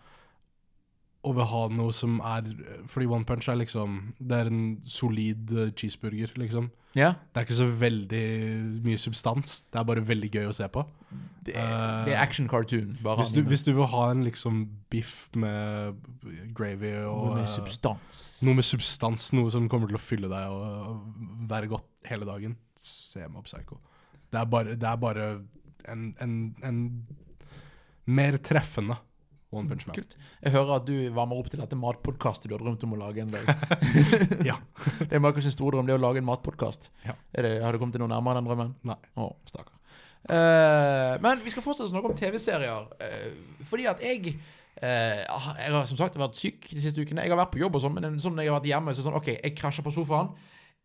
[SPEAKER 2] Og vil ha noe som er Fordi One Punch er liksom Det er en solid eh, cheeseburger, liksom.
[SPEAKER 1] Ja,
[SPEAKER 2] Det er ikke så veldig mye substans. Det er bare veldig gøy å se på.
[SPEAKER 1] det
[SPEAKER 2] Eh,
[SPEAKER 1] er, det er action cartoon. Bare
[SPEAKER 2] Hvis du,
[SPEAKER 1] anime.
[SPEAKER 2] hvis du vil ha en liksom biff med gravy og
[SPEAKER 1] Noe med
[SPEAKER 2] eh,
[SPEAKER 1] substans.
[SPEAKER 2] noe med substans, noe som kommer til å fylle deg og og være godt hele dagen, se Mob Psycho. Det er bare, det er bare en, en, en mer treffende One Punch Man.
[SPEAKER 1] Kult. Jeg hører at du varmer opp til dette matpodkastet du har drømt om å lage en dag.
[SPEAKER 2] Ja.
[SPEAKER 1] Det er Markus' store drøm, det er å lage en matpodkast.
[SPEAKER 2] Ja.
[SPEAKER 1] Er det- Har du kommet til noe nærmere den drømmen?
[SPEAKER 2] Nei.
[SPEAKER 1] Å, stakkar. Eh, men vi skal fortsette å snakke om TV-serier. eh, fordi at jeg eh, ah, Jeg har som sagt vært syk de siste ukene. Jeg har vært på jobb og sånn, men en- sånn når jeg har vært hjemme, så er det sånn OK, jeg krasjer på sofaen.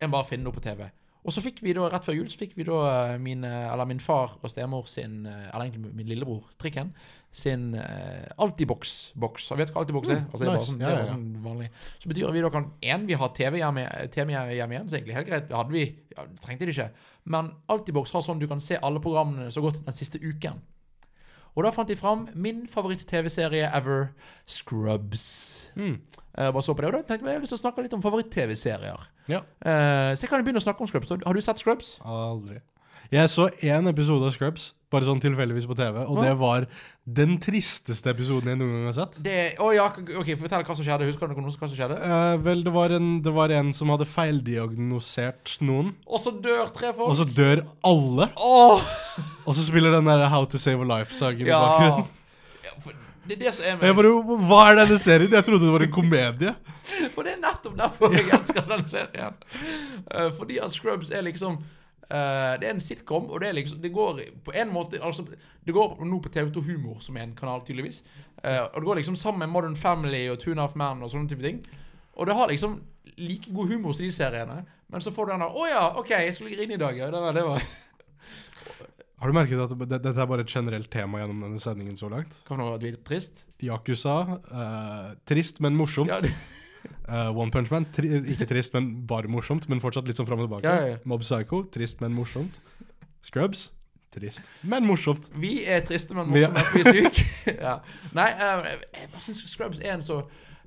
[SPEAKER 1] Jeg må bare finne noe på TV. Og så fikk vi da, rett før jul, så fikk vi da eh, min, eh, eller min far og stemor sin, eh, eller egentlig min lillebror, Trikken, sin eh, Altibox-boks. Jeg vet hva Altibox er?
[SPEAKER 2] Mm,
[SPEAKER 1] Altså, det er bare
[SPEAKER 2] nice.
[SPEAKER 1] sånn, det
[SPEAKER 2] Ja,
[SPEAKER 1] er
[SPEAKER 2] ja,
[SPEAKER 1] bare
[SPEAKER 2] ja.
[SPEAKER 1] sånn vanlig. Så betyr at vi da kan en, vi har TV hjemme, TV hjemme igjen, så egentlig helt greit. Hadde vi, ja, trengte det ikke. Men Altibox har sånn du kan se alle programmene så godt den siste uken. Og da fant de fram min favoritt-TV-serie ever, Scrubs.
[SPEAKER 2] Mm.
[SPEAKER 1] Eh, bare så på det, og da tenkte jeg jeg har lyst til å snakke litt om favoritt-TV-serier.
[SPEAKER 2] Ja.
[SPEAKER 1] Eh, så jeg kan jo begynne å snakke om Scrubs. Har du sett Scrubs?
[SPEAKER 2] Aldri. Jeg så én episode av Scrubs, bare sånn tilfeldigvis på TV, og
[SPEAKER 1] Hva?
[SPEAKER 2] det var den tristeste episoden jeg noen gang har sett.
[SPEAKER 1] Det, å ja, ok, Fortell hva som skjedde. Husker du noe om hva som skjedde?
[SPEAKER 2] Eh, vel, det var, en, det var en som hadde feildiagnosert noen,
[SPEAKER 1] Og så dør tre folk.
[SPEAKER 2] og så dør alle,
[SPEAKER 1] Åh!
[SPEAKER 2] og så spiller den der How to Save a Life-sangen i
[SPEAKER 1] Ja.
[SPEAKER 2] bakgrunnen.
[SPEAKER 1] Ja, for Det er det som er
[SPEAKER 2] Og
[SPEAKER 1] med
[SPEAKER 2] jeg bare, Hva er denne serien? Jeg trodde det var en komedie.
[SPEAKER 1] For det er nettopp derfor jeg elsker den serien. Eh, fordi at Scrubs er liksom eh, Det er en sitcom, og det er liksom Det går på en måte altså, Det går nå på TV2 Humor, som er en kanal, tydeligvis. Eh, og det går liksom sammen med Modern Family og Tune Half Man og sånne type ting. Og det har liksom like god humor som de seriene, men så får du den der Å ja, OK, jeg skulle grine i dag, ja. Det var, det var.
[SPEAKER 2] Har du merket at det, det- dette er bare et generelt tema gjennom denne sendingen så langt?
[SPEAKER 1] Kan det være litt trist?
[SPEAKER 2] Yakuza, eh, trist, men morsomt.
[SPEAKER 1] Ja, det,
[SPEAKER 2] Eh, One Punch Man, tri ikke trist, men bare morsomt, men fortsatt litt sånn fram og tilbake.
[SPEAKER 1] Ja, ja, ja.
[SPEAKER 2] Mob Psycho, trist, men morsomt. Scrubs, trist, men morsomt.
[SPEAKER 1] Vi er triste, men
[SPEAKER 2] Vi er-
[SPEAKER 1] morsomme, for vi er syke. ja. Nei, eh, jeg bare syns Scrubs er en så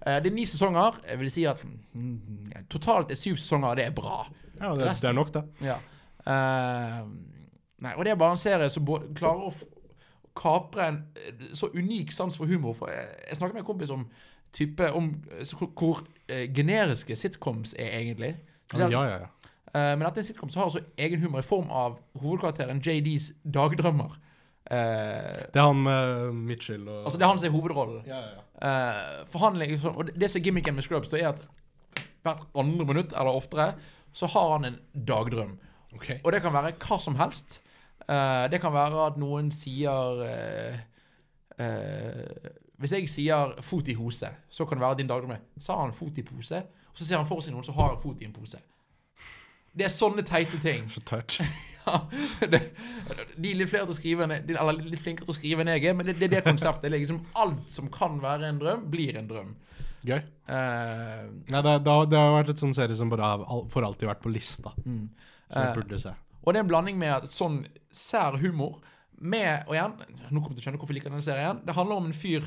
[SPEAKER 1] eh, Det er ni sesonger. Jeg vil si at mm, totalt er syv sesonger, og det er bra.
[SPEAKER 2] Ja, det,
[SPEAKER 1] Resten-
[SPEAKER 2] det er nok, det.
[SPEAKER 1] Ja. Eh, nei, og det er bare en serie som både klarer å f- kapre en eh, så unik sans for humor. For jeg, jeg snakket med en kompis om type om eh, så hvor- hvor eh, generiske sitcoms er egentlig.
[SPEAKER 2] Ja, ja, ja.
[SPEAKER 1] Eh, men at det er en sitcom som har også egen humor i form av hovedkarakteren JDs dagdrømmer. Eh,
[SPEAKER 2] Det er han med Mitchell og
[SPEAKER 1] Altså Det er han som er hovedrollen.
[SPEAKER 2] ja, ja, ja.
[SPEAKER 1] Eh, for han liksom, og det som er gimmicken med Scrubs, da er at hvert andre minutt eller oftere så har han en dagdrøm.
[SPEAKER 2] Ok.
[SPEAKER 1] Og det kan være hva som helst. Eh, det kan være at noen sier eh, eh, Hvis jeg sier 'fot i hose', så kan det være at din dagdrøm er Sa han 'fot i pose'? Og så ser han for seg noen som har en fot i en pose. Det er sånne teite ting.
[SPEAKER 2] Så tørt.
[SPEAKER 1] Ja, det, de er litt flere til å skrive enn de, Eller litt flinkere til å skrive enn jeg er, men det, det er det konseptet. Det er liksom alt som kan være en drøm, blir en drøm.
[SPEAKER 2] Gøy.
[SPEAKER 1] Eh,
[SPEAKER 2] Nei, det, det, har, det har vært et sånn serie som bare har al- for alltid vært på lista.
[SPEAKER 1] Mm.
[SPEAKER 2] Som jeg
[SPEAKER 1] Eh,
[SPEAKER 2] burde se.
[SPEAKER 1] og det er en blanding med at sånn sær humor med Og igjen, nå kommer du til å skjønne hvorfor jeg liker denne serien. Det handler om en fyr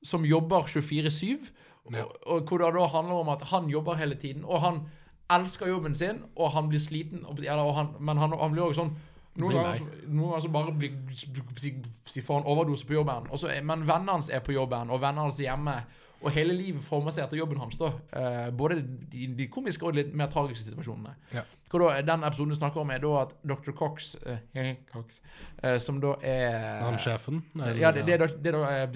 [SPEAKER 1] som jobber 24-7, og,
[SPEAKER 2] Ja.
[SPEAKER 1] og hvor det da handler om at han jobber hele tiden, og han elsker jobben sin, og han blir sliten, og, eller, og han, men han, han blir også sånn noen
[SPEAKER 2] Blir
[SPEAKER 1] ganger, noen ganger så bare blir, si, si, får han overdose på jobben. Og så er, men vennene hans er på jobben, og vennene hans er hjemme. Og hele livet former seg etter jobben hans. da. Eh, både de, de komiske og de litt mer tragiske situasjonene.
[SPEAKER 2] Ja.
[SPEAKER 1] Hvor da, den episoden du snakker om, er da at dr. Cox, eh, Cox eh, som da er
[SPEAKER 2] Han sjefen? eller-
[SPEAKER 1] ja, det, det, er da- det, er da, eh,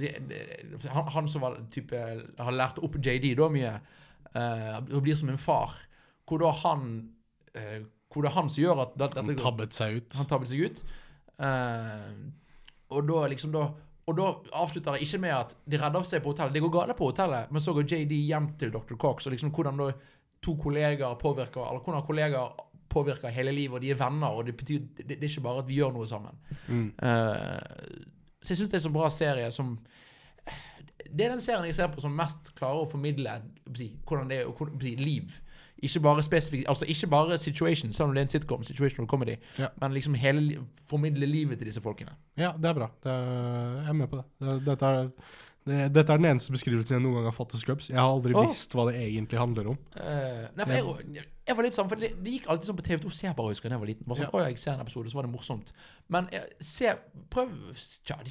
[SPEAKER 1] det- han, han som var, type, har lært opp JD da mye, eh, og blir som en far. Hvor da han eh, Hvor det er han som gjør at dette
[SPEAKER 2] Han tabbet seg ut.
[SPEAKER 1] han tabbet seg ut. Eh, og da liksom da og da avslutter jeg ikke med at de redder seg på hotellet. Det går galt på hotellet, men så går JD hjem til dr. Cox. Og liksom hvordan da to kollegaer påvirker eller hvordan kollegaer påvirker hele livet, og de er venner. og Det betyr, det, det er ikke bare at vi gjør noe sammen.
[SPEAKER 2] Mm.
[SPEAKER 1] Eh, så jeg syns det er en så bra serie som Det er den serien jeg ser på som mest klarer å formidle hva skal jeg si, hvordan det er å hvordan- hva skal jeg si, liv. Ikke bare spesifikt, altså ikke bare situation, selv om det er en sitcom, situational comedy,
[SPEAKER 2] Ja.
[SPEAKER 1] men liksom hele, li- formidle livet til disse folkene.
[SPEAKER 2] Ja, det er bra. Det er, jeg er med på det. det dette, er, det. dette er den eneste beskrivelsen jeg noen gang har fått av Scrubs. Jeg har aldri
[SPEAKER 1] Åh.
[SPEAKER 2] visst hva det egentlig handler om.
[SPEAKER 1] Eh, nei, for jeg, jeg var litt sånn, for det, det gikk alltid sånn på TV2 Se bare, husker jeg, da jeg var liten. Bare sånn,
[SPEAKER 2] Ja.
[SPEAKER 1] «Å, jeg ser en episode, så var det morsomt. Men eh, se, prøv tja, de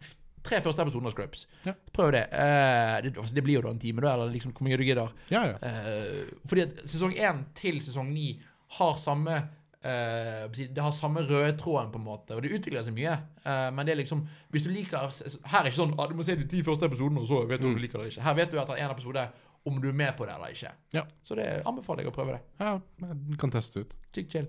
[SPEAKER 1] f- tre første episodene av Scrubs.
[SPEAKER 2] Ja.
[SPEAKER 1] Prøv det. Eh, det. altså, Det blir jo da en time, da, eller liksom hvor mye du gidder.
[SPEAKER 2] Ja, ja.
[SPEAKER 1] Eh, fordi at sesong 1 til sesong 9 har samme eh, hva skal jeg si, Det har samme røde tråden, på en måte, og det utvikler seg mye. Eh, men det er liksom Hvis du liker Her er ikke sånn ah, du må se de ti første episodene, og så vet du om du liker det eller ikke. Her vet du etter én episode om du er med på det eller ikke.
[SPEAKER 2] Ja.
[SPEAKER 1] Så det anbefaler jeg å prøve det.
[SPEAKER 2] ja jeg kan teste ut.
[SPEAKER 1] Chill, chill.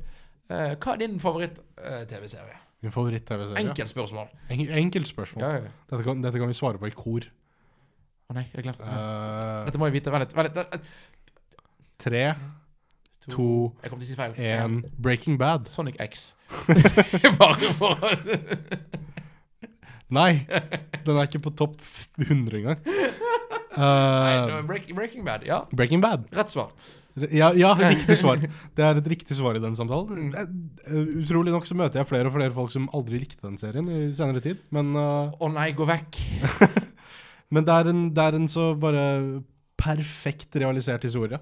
[SPEAKER 1] Eh, hva er din favoritt-TV-serie?
[SPEAKER 2] Min favoritt-TV-serie.
[SPEAKER 1] Enkelt spørsmål.
[SPEAKER 2] En, enkelt spørsmål.
[SPEAKER 1] ja, ja.
[SPEAKER 2] Dette, kan, dette kan vi svare på i kor.
[SPEAKER 1] Å nei, jeg glemte det.
[SPEAKER 2] Eh,
[SPEAKER 1] Dette må jeg vite. Vent litt. Vent litt.
[SPEAKER 2] tre, to,
[SPEAKER 1] Jeg kom til å si feil.
[SPEAKER 2] én Breaking Bad.
[SPEAKER 1] Sonic X. Bare for å
[SPEAKER 2] Nei! Den er ikke på topp 100 engang.
[SPEAKER 1] Nei,
[SPEAKER 2] Uh,
[SPEAKER 1] nå er break, Breaking Bad, ja.
[SPEAKER 2] Breaking Bad.
[SPEAKER 1] Rett svar.
[SPEAKER 2] Ja, ja, riktig svar. Det er et riktig svar i den samtalen.
[SPEAKER 1] Mm.
[SPEAKER 2] Eh, Utrolig nok så møter jeg flere og flere folk som aldri likte den serien i senere tid. Men, eh,
[SPEAKER 1] Å nei, gå vekk.
[SPEAKER 2] men det, er en, det er en så bare perfekt realisert historie.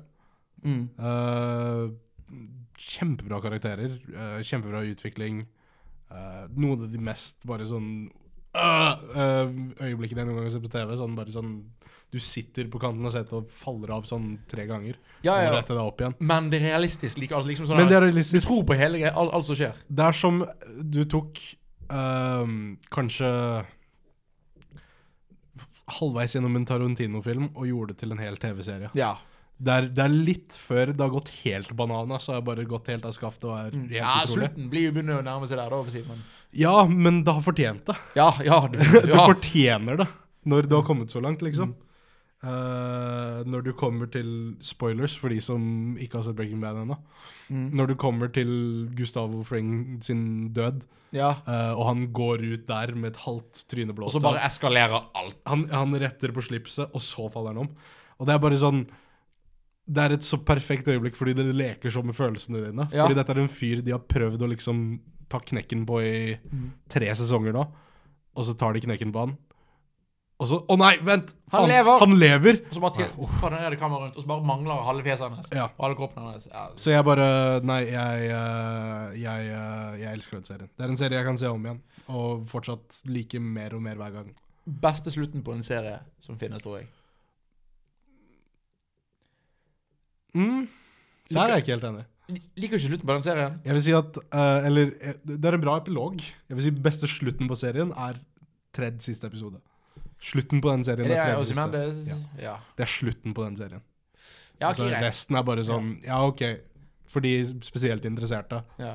[SPEAKER 1] Mm.
[SPEAKER 2] Eh, kjempebra karakterer, eh, kjempebra utvikling. Eh, noen av de mest bare sånn øh, eh, øyeblikkene jeg noen gang har sett på TV. Sånn, bare sånn Du sitter på kanten av setet og faller av sånn tre ganger.
[SPEAKER 1] Ja,
[SPEAKER 2] Og
[SPEAKER 1] ja.
[SPEAKER 2] retter deg opp igjen.
[SPEAKER 1] Men det er realistisk. Like, altså, liksom sånn
[SPEAKER 2] Men det er
[SPEAKER 1] Du
[SPEAKER 2] realistisk.
[SPEAKER 1] tror på hele greia, alt, alt som skjer.
[SPEAKER 2] Det er som du tok ehm, kanskje halvveis gjennom en Tarantino-film og gjorde det til en hel TV-serie.
[SPEAKER 1] Ja.
[SPEAKER 2] Det, er- det er litt før det har gått helt bananas og har bare gått helt av skaftet og er helt
[SPEAKER 1] Mm. ja
[SPEAKER 2] utrolig.
[SPEAKER 1] slutten blir jo begynner å nærme seg der, da. for å si det, Men,
[SPEAKER 2] Ja, men det har fortjent det.
[SPEAKER 1] ja, ja. Du,
[SPEAKER 2] Det
[SPEAKER 1] ja. Mm.
[SPEAKER 2] fortjener det når du har kommet så langt, liksom. Eh, når du kommer til spoilers for de som ikke har sett Breaking Bad ennå.
[SPEAKER 1] Mm.
[SPEAKER 2] Når du kommer til Gustavo Fring sin død,
[SPEAKER 1] ja.
[SPEAKER 2] Eh, og han går ut der med et halvt
[SPEAKER 1] Og
[SPEAKER 2] tryneblås.
[SPEAKER 1] så bare eskalerer alt.
[SPEAKER 2] han, han retter på slipset, og så faller han om. Og det er bare sånn Det er et så perfekt øyeblikk, fordi det leker så med følelsene dine.
[SPEAKER 1] Ja.
[SPEAKER 2] Fordi dette er en fyr de har prøvd å liksom ta knekken på i
[SPEAKER 1] Mm.
[SPEAKER 2] tre sesonger nå, og så tar de knekken på han. Og så Å nei, vent!
[SPEAKER 1] Han lever!
[SPEAKER 2] Han lever!
[SPEAKER 1] Og så bare til, faen, der er det kamera rundt, og så bare mangler halve fjeset hennes.
[SPEAKER 2] Ja.
[SPEAKER 1] Og halve kroppen hennes. Ja.
[SPEAKER 2] Så jeg bare Nei, jeg, eh, jeg, eh, jeg elsker den serien. Det er en serie jeg kan se om igjen, og fortsatt like mer og mer hver gang.
[SPEAKER 1] Beste slutten på en serie som finnes, tror jeg.
[SPEAKER 2] Mm. Der er jeg ikke helt enig.
[SPEAKER 1] Liker ikke slutten på den serien.
[SPEAKER 2] Jeg vil si at eh, Eller eh, det er en bra epilog. Jeg vil si beste slutten på serien er tredje siste episode. Slutten på den
[SPEAKER 1] Er
[SPEAKER 2] serien
[SPEAKER 1] det
[SPEAKER 2] er tredje
[SPEAKER 1] Ozyman?
[SPEAKER 2] siste.
[SPEAKER 1] Det,
[SPEAKER 2] Ja.
[SPEAKER 1] ja.
[SPEAKER 2] Det er slutten på den serien.
[SPEAKER 1] Ja, ok,
[SPEAKER 2] Altså,
[SPEAKER 1] greit.
[SPEAKER 2] resten er bare sånn Ja, OK. For de spesielt interesserte.
[SPEAKER 1] Ja.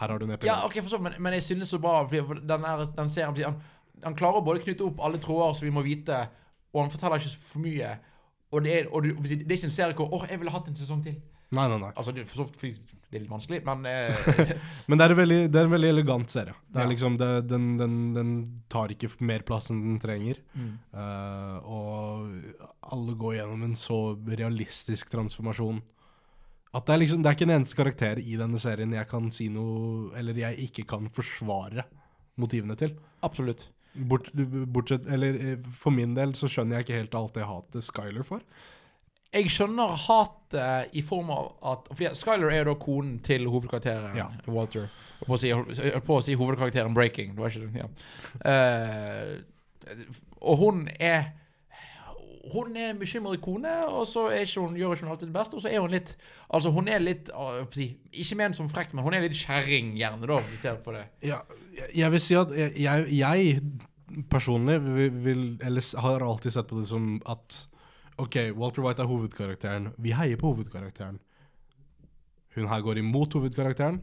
[SPEAKER 2] Her har du en
[SPEAKER 1] ja,
[SPEAKER 2] epilog.
[SPEAKER 1] ok, for så, vidt, men, men jeg synes så bra, fordi for den, her, den serien blir- han, han klarer å både knytte opp alle tråder som vi må vite, og han forteller ikke så for mye. Og det er, og du, det er ikke en serie hvor 'Å, jeg ville hatt en sesong til'.
[SPEAKER 2] Nei, nei, nei.
[SPEAKER 1] Altså, det er for så vidt fordi det er litt vanskelig, men eh,
[SPEAKER 2] Men det er en veldig, det er en veldig elegant serie. Det er
[SPEAKER 1] Ja.
[SPEAKER 2] liksom, det, den, den, den tar ikke mer plass enn den trenger.
[SPEAKER 1] Mm.
[SPEAKER 2] Eh, og alle går gjennom en så realistisk transformasjon. At det er liksom, det er ikke en eneste karakter i denne serien jeg kan si noe Eller jeg ikke kan forsvare motivene til.
[SPEAKER 1] Absolutt.
[SPEAKER 2] Bort, bortsett Eller eh, for min del så skjønner jeg ikke helt alt det hatet Skyler for.
[SPEAKER 1] Jeg skjønner hatet i form av at Fordi Skyler er jo da konen til hovedkarakteren
[SPEAKER 2] Ja.
[SPEAKER 1] Walter. Jeg holdt på å si- Jeg holdt på å si hovedkarakteren Breaking. Det var ikke det. Ja. Eh, og hun er Hun er en bekymret kone, og så er ikke hun, gjør ikke hun alltid det beste. Og så er hun litt Altså, hun er litt ah, jeg får si, Ikke ment som frekk, men hun er litt kjerring, gjerne, da. hvis vi ser på det.
[SPEAKER 2] Ja, jeg- jeg vil si at jeg, jeg, jeg personlig vil, vil, eller s- har alltid sett på det som at OK, Walter White er hovedkarakteren. Vi heier på hovedkarakteren. Hun her går imot hovedkarakteren.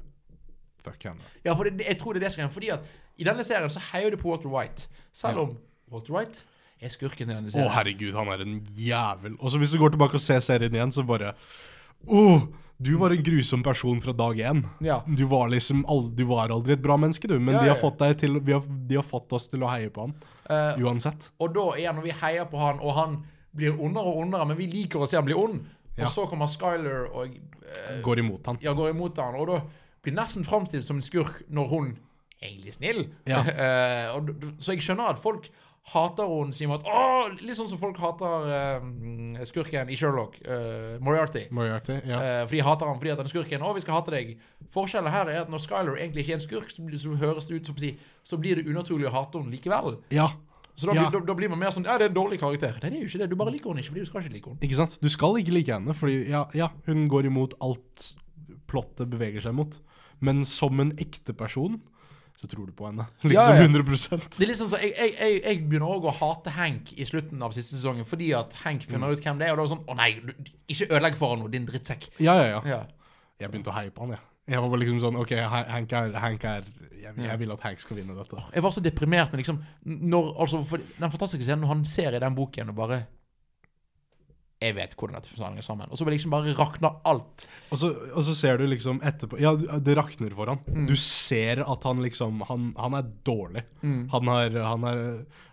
[SPEAKER 2] Fuck henne.
[SPEAKER 1] Ja, for det, det- jeg tror det er det som er Fordi at i denne serien så heier du på Walter White, selv om Walter White er skurken i denne
[SPEAKER 2] Å,
[SPEAKER 1] serien.
[SPEAKER 2] herregud, han er en jævel. Og så hvis du går tilbake og ser serien igjen, så bare Åh, du var en grusom person fra dag én.
[SPEAKER 1] Ja.
[SPEAKER 2] Du var liksom aldri, du var aldri et bra menneske, du, men
[SPEAKER 1] Ja,
[SPEAKER 2] de, har
[SPEAKER 1] ja, ja.
[SPEAKER 2] fått deg til, vi har, de har fått oss til å heie på han.
[SPEAKER 1] Eh,
[SPEAKER 2] Uansett.
[SPEAKER 1] Og da igjen, når vi heier på han, og han blir ondere og ondere, men vi liker å se han bli ond,
[SPEAKER 2] Ja.
[SPEAKER 1] og så kommer Skyler og eh,
[SPEAKER 2] Går imot han.
[SPEAKER 1] ja, går imot han, og da blir nesten framstilt som en skurk når hun er egentlig snill.
[SPEAKER 2] Ja.
[SPEAKER 1] Eh, og, d- d- så jeg skjønner at folk hater henne sier at Åh! Litt sånn som folk hater eh, skurken i Sherlock, eh, Moriarty.
[SPEAKER 2] Moriarty. Ja.
[SPEAKER 1] Eh, for de hater han fordi at han er skurken. Å, vi skal hate deg. Forskjellen her er at når Skyler egentlig ikke er en skurk, så, blir- så høres det ut som å si, så blir det unaturlig å hate henne likevel.
[SPEAKER 2] ja.
[SPEAKER 1] Så da,
[SPEAKER 2] Ja.
[SPEAKER 1] blir- da, da blir man mer sånn Ja, det er en dårlig karakter. Nei, det er jo ikke det. Du bare liker henne ikke fordi du skal ikke like henne.
[SPEAKER 2] Ikke sant? Du skal ikke like henne, fordi ja, ja, hun går imot alt plottet beveger seg mot. Men som en ekte person, så tror du på henne. Liksom
[SPEAKER 1] Ja, ja.
[SPEAKER 2] 100
[SPEAKER 1] Det er liksom så, jeg, jeg, jeg, jeg begynner òg å hate Hank i slutten av siste sesongen fordi at Hank finner ut hvem det er, og da er det sånn Å nei, du, ikke ødelegg for han nå, din drittsekk.
[SPEAKER 2] Ja, ja, ja.
[SPEAKER 1] Ja.
[SPEAKER 2] Jeg begynte å heie på han, jeg. Jeg var bare liksom sånn OK, Ha- Hank er, Hank er jeg, jeg vil at Hank skal vinne dette.
[SPEAKER 1] Jeg var så deprimert når liksom når, altså, for Den fantastiske scenen når han ser i den boken og bare jeg vet hvordan dette henger sammen. Og så vil liksom bare rakne alt.
[SPEAKER 2] Og så, og så ser du liksom etterpå Ja, du- det rakner for han.
[SPEAKER 1] Mm.
[SPEAKER 2] Du ser at han liksom Han, han er dårlig. Han, har, han er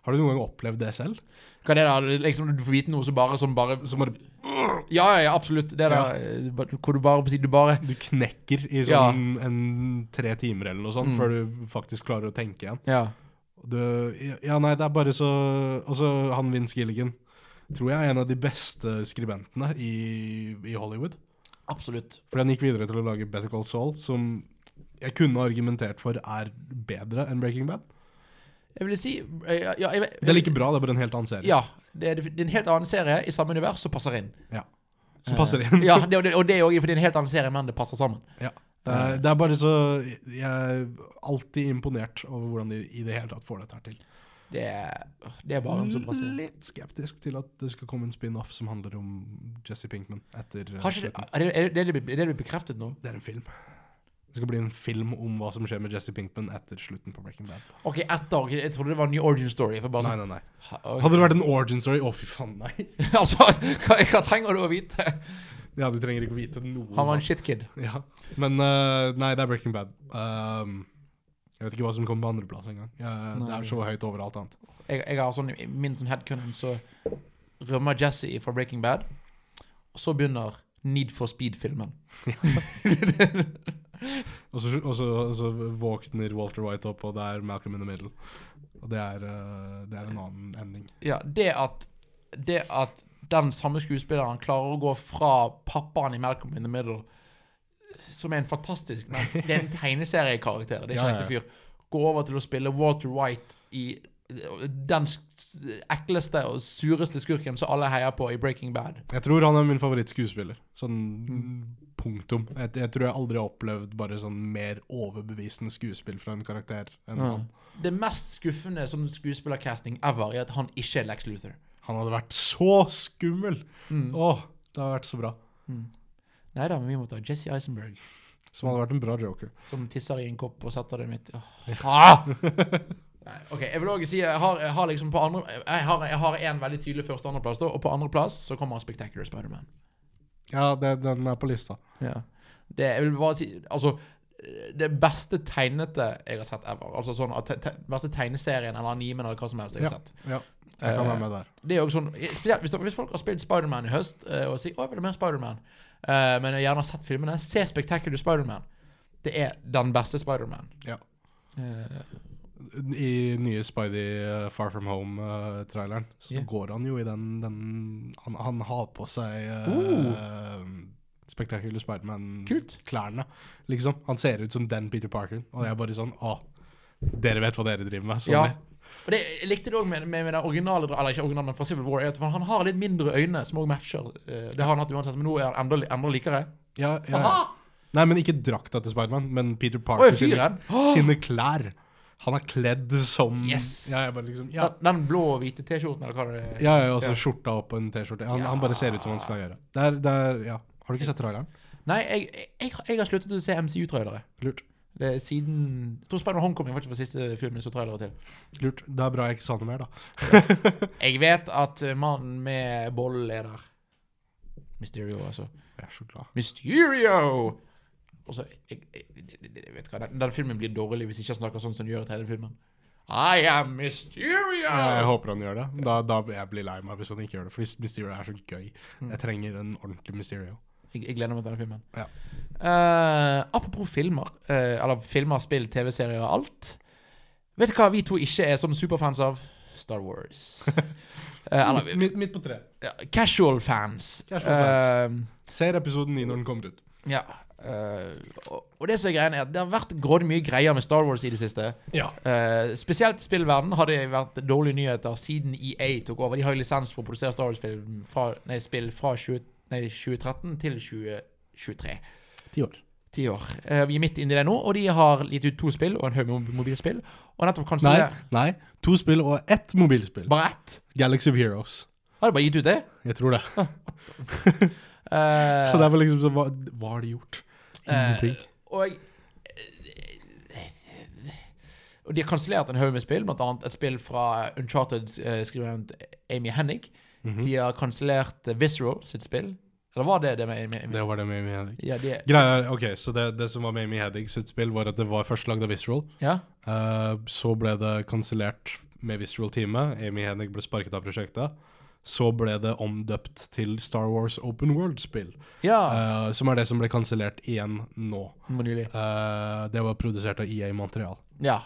[SPEAKER 2] Har du noen gang opplevd det selv?
[SPEAKER 1] Hva er det da? Liksom, du får vite noe som bare, som bare
[SPEAKER 2] Som bare
[SPEAKER 1] Ja, ja, ja, absolutt. Det er da, eh, bare- Hvor du bare, på å si, du bare
[SPEAKER 2] du knekker i
[SPEAKER 1] Ja. Mm.
[SPEAKER 2] sånn en tre timer eller noe sånt, før du faktisk klarer å tenke igjen.
[SPEAKER 1] Ja.
[SPEAKER 2] Du, ja, nei, det er bare så Altså, han Vince Gilligan tror jeg er en av de beste skribentene i, i Hollywood.
[SPEAKER 1] Absolutt.
[SPEAKER 2] Fordi han gikk videre til å lage Better Call Saul, som jeg kunne argumentert for er bedre enn Breaking Bad.
[SPEAKER 1] Jeg vil si eh, ja, ja, jeg, vet-
[SPEAKER 2] Det er like bra, det er bare en helt annen serie.
[SPEAKER 1] Ja. Det er, det er en helt annen serie i samme univers som passer inn.
[SPEAKER 2] Som passer inn.
[SPEAKER 1] Eh, Ja, det, og det- og det er jo fordi det er en helt annen serie, men det passer sammen.
[SPEAKER 2] Ja. Det, er, Eh, det er bare så Jeg er alltid imponert over hvordan de i det hele tatt får dette her til.
[SPEAKER 1] Det er, det er bare en som passer.
[SPEAKER 2] Litt skeptisk til at det skal komme en spin-off som handler om Jesse Pinkman etter eh,
[SPEAKER 1] Har ikke,
[SPEAKER 2] slutten.
[SPEAKER 1] er, det, er, det, er, det, er det blitt bekreftet nå?
[SPEAKER 2] Det er en film. Det skal bli en film om hva som skjer med Jesse Pinkman etter slutten på Breaking Bad.
[SPEAKER 1] Ok, etter, ok, Jeg trodde det var en ny origin story. For bare
[SPEAKER 2] Nei,
[SPEAKER 1] sånn,
[SPEAKER 2] nei, nei.
[SPEAKER 1] ha- ok.
[SPEAKER 2] Hadde det vært en origin story Å, fy faen, nei.
[SPEAKER 1] altså, hva, hva trenger du å vite?
[SPEAKER 2] Ja, du trenger ikke å vite noe.
[SPEAKER 1] Han var en shitkid.
[SPEAKER 2] Ja. Men eh, nei, det er Breaking Bad. Ehm, jeg vet ikke hva som kommer på andreplass engang. Uh, det
[SPEAKER 1] Nei.
[SPEAKER 2] er så høyt over alt annet.
[SPEAKER 1] Jeg, jeg har sånn, i min sånn headcanon, så rømmer Jesse fra Breaking Bad, og så begynner Need for Speed-filmen.
[SPEAKER 2] Og så, og, så, og så våkner Walter White opp, og det er Malcolm in the Middle. Og det er, eh, det er en annen ending.
[SPEAKER 1] Ja, det at, det at den samme skuespilleren klarer å gå fra pappaen i Malcolm in the Middle, som er en fantastisk men Det er en tegneseriekarakter, det er ikke
[SPEAKER 2] Ja,
[SPEAKER 1] en
[SPEAKER 2] ja,
[SPEAKER 1] ekte fyr. Gå over til å spille Walter White i den sk- ekleste og sureste skurken som alle heier på i Breaking Bad.
[SPEAKER 2] Jeg tror han er min favorittskuespiller. Sånn punktum. Jeg, jeg tror jeg aldri har opplevd bare sånn mer overbevisende skuespill fra en karakter enn han.
[SPEAKER 1] Det mest skuffende som skuespillercasting ever er at han ikke er Lex Luther.
[SPEAKER 2] Han hadde vært så skummel! Åh, det hadde vært så bra.
[SPEAKER 1] Nei da, men vi må ta Jesse Eisenberg,
[SPEAKER 2] Som hadde vært en bra joker.
[SPEAKER 1] som tisser i en kopp og setter det midt Åh. Ah! Nei, ok, Jeg vil også si jeg har, jeg har liksom på andre Jeg har, jeg har en veldig tydelig første- og andreplass, da, og på andreplass så kommer Spectacular Spiderman.
[SPEAKER 2] Ja, det, den er på lista.
[SPEAKER 1] Ja. Det, jeg vil bare si Altså, det beste tegnete jeg har sett ever. Altså sånn at te, te, beste tegneserien eller animen eller hva som helst jeg har
[SPEAKER 2] Ja.
[SPEAKER 1] sett.
[SPEAKER 2] Ja, jeg kan
[SPEAKER 1] Eh,
[SPEAKER 2] være med der.
[SPEAKER 1] Det er jo også sånn, spesielt hvis, hvis folk har spilt Spiderman i høst eh, og sier 'Å, jeg vil ha mer Spiderman', uh, men jeg gjerne har sett filmene, se Spectacular Spiderman. Det er den beste Spiderman.
[SPEAKER 2] Ja.
[SPEAKER 1] Eh,
[SPEAKER 2] I nye Spidey eh, Far From Home-traileren så
[SPEAKER 1] Ja.
[SPEAKER 2] går han jo i den, den han, han har på seg uh, Spectacular
[SPEAKER 1] Oh. Kult.
[SPEAKER 2] Spiderman-klærne. Liksom. Han ser ut som den Peter Parker. Og jeg er bare sånn Å, dere vet hva dere driver med.
[SPEAKER 1] ja.
[SPEAKER 2] Sorry.
[SPEAKER 1] Og det, jeg likte det òg med, med, med den originale Eller ikke originalen, men fra Civil War. er at Han har litt mindre øyne, som også matcher. eh, det har han hatt uansett, men nå er han enda, enda likere.
[SPEAKER 2] Ja, ja, ja.
[SPEAKER 1] Aha!
[SPEAKER 2] Nei, men ikke drakta til Spiderman, men Peter
[SPEAKER 1] Å,
[SPEAKER 2] Parker
[SPEAKER 1] er fyren?
[SPEAKER 2] sine, sine klær. Han er kledd som
[SPEAKER 1] Yes.
[SPEAKER 2] Ja, jeg bare liksom Ja,
[SPEAKER 1] Den, den blå og hvite T-skjorten, eller hva det er.
[SPEAKER 2] ja, ja altså skjorta opp og en T-skjorte. Han, han bare ser ut som han skal gjøre. Det er, det er Ja. Har du ikke sett traileren?
[SPEAKER 1] Nei, jeg, jeg, jeg, har- jeg har sluttet å se MCU-trailere.
[SPEAKER 2] Lurt.
[SPEAKER 1] Det er siden Jeg tror Spiderman Homecoming var ikke på siste filmen jeg så trailere til.
[SPEAKER 2] Lurt. Det er bra jeg ikke sa noe mer, da.
[SPEAKER 1] Jeg vet at eh, mannen med bollen er der. Mysterio, altså.
[SPEAKER 2] Jeg er så glad.
[SPEAKER 1] Mysterio! Og så jeg, jeg, jeg, jeg vet hva, den, den filmen blir dårlig hvis ikke han snakker sånn som han gjør i hele filmen. I am Mysterio!
[SPEAKER 2] Jeg håper han gjør det. Da, da blir jeg blir lei meg hvis han ikke gjør det, fordi Mysterio er så gøy. Jeg trenger en ordentlig Mysterio.
[SPEAKER 1] Jeg, jeg gleder meg til denne filmen.
[SPEAKER 2] Ja.
[SPEAKER 1] Eh, apropos filmer, eh, eller filmer, spill, TV-serier og alt. Vet du hva vi to ikke er sånn superfans av? Star Wars. Eh, eller vi-
[SPEAKER 2] Midt, midt på tre.
[SPEAKER 1] ja, casual fans.
[SPEAKER 2] Casual fans. Ser episoden ni når den kommer ut.
[SPEAKER 1] Eh, ja. eh, og, og det som er greien er at det har vært grådig mye greier med Star Wars i det siste.
[SPEAKER 2] Ja.
[SPEAKER 1] Eh, spesielt spillverden har det vært dårlige nyheter siden EA tok over. De har jo lisens for å produsere Star Wars-film fra, nei, spill fra 20, nei, 2013 til 2023.
[SPEAKER 2] Ti år.
[SPEAKER 1] Ti år. Eh, vi er midt inni det nå, og de har gitt ut to spill og en haug med mobilspill. Og nettopp
[SPEAKER 2] Nei,
[SPEAKER 1] kansellert
[SPEAKER 2] nei. To spill og ett mobilspill.
[SPEAKER 1] Bare ett?
[SPEAKER 2] Galaxy of Heroes.
[SPEAKER 1] Har de bare gitt ut det?
[SPEAKER 2] Jeg tror det.
[SPEAKER 1] Eh,
[SPEAKER 2] Så det var liksom så Hva, hva har de gjort? Ingenting.
[SPEAKER 1] Og eh, eh, Og de har kansellert en haug med spill, blant annet et spill fra Uncharted-skribent Amy Hennig.
[SPEAKER 2] Mhm.
[SPEAKER 1] De har kansellert Visceral sitt spill. Eller var det det med, med, med
[SPEAKER 2] Det var det med Amy Hennig.
[SPEAKER 1] ja, de,
[SPEAKER 2] Greia, ok, Så det, det som var med Amy Hennig sitt spill, var at det var først lagd av Visceral.
[SPEAKER 1] ja,
[SPEAKER 2] Eh, så ble det kansellert med Visceral-teamet. Amy Hennig ble sparket av prosjektet. Så ble det omdøpt til Star Wars Open World-spill,
[SPEAKER 1] ja
[SPEAKER 2] eh, som er det som ble kansellert igjen nå.
[SPEAKER 1] må nylig.
[SPEAKER 2] Eh, det var produsert av EA Montreal.
[SPEAKER 1] Ja.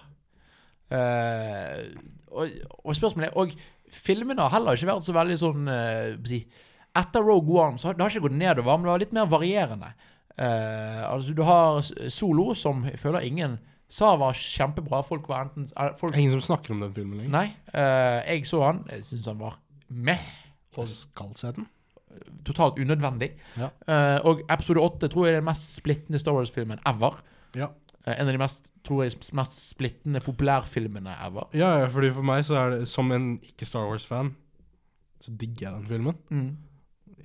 [SPEAKER 1] Eh, og, og spørsmålet er Og filmene har heller ikke vært så veldig sånn eh, hva skal jeg si, Etter Rogue One så har det har ikke gått nedover, men det var litt mer varierende. Eh, altså Du har S- Solo, som jeg føler ingen sa var kjempebra. Folk var enten eh, folk,
[SPEAKER 2] Det er ingen som snakker om den filmen lenger.
[SPEAKER 1] Nei. eh, jeg så han. Jeg syns han var meh.
[SPEAKER 2] Jeg skal se den.
[SPEAKER 1] Totalt unødvendig.
[SPEAKER 2] Ja.
[SPEAKER 1] Eh, og episode åtte tror jeg er den mest splittende Star Wars-filmen ever.
[SPEAKER 2] Ja.
[SPEAKER 1] Eh, en av de mest, tror jeg, mest splittende populærfilmene ever.
[SPEAKER 2] Ja, ja, fordi for meg så er det Som en ikke-Star Wars-fan så digger jeg den filmen.
[SPEAKER 1] Mm.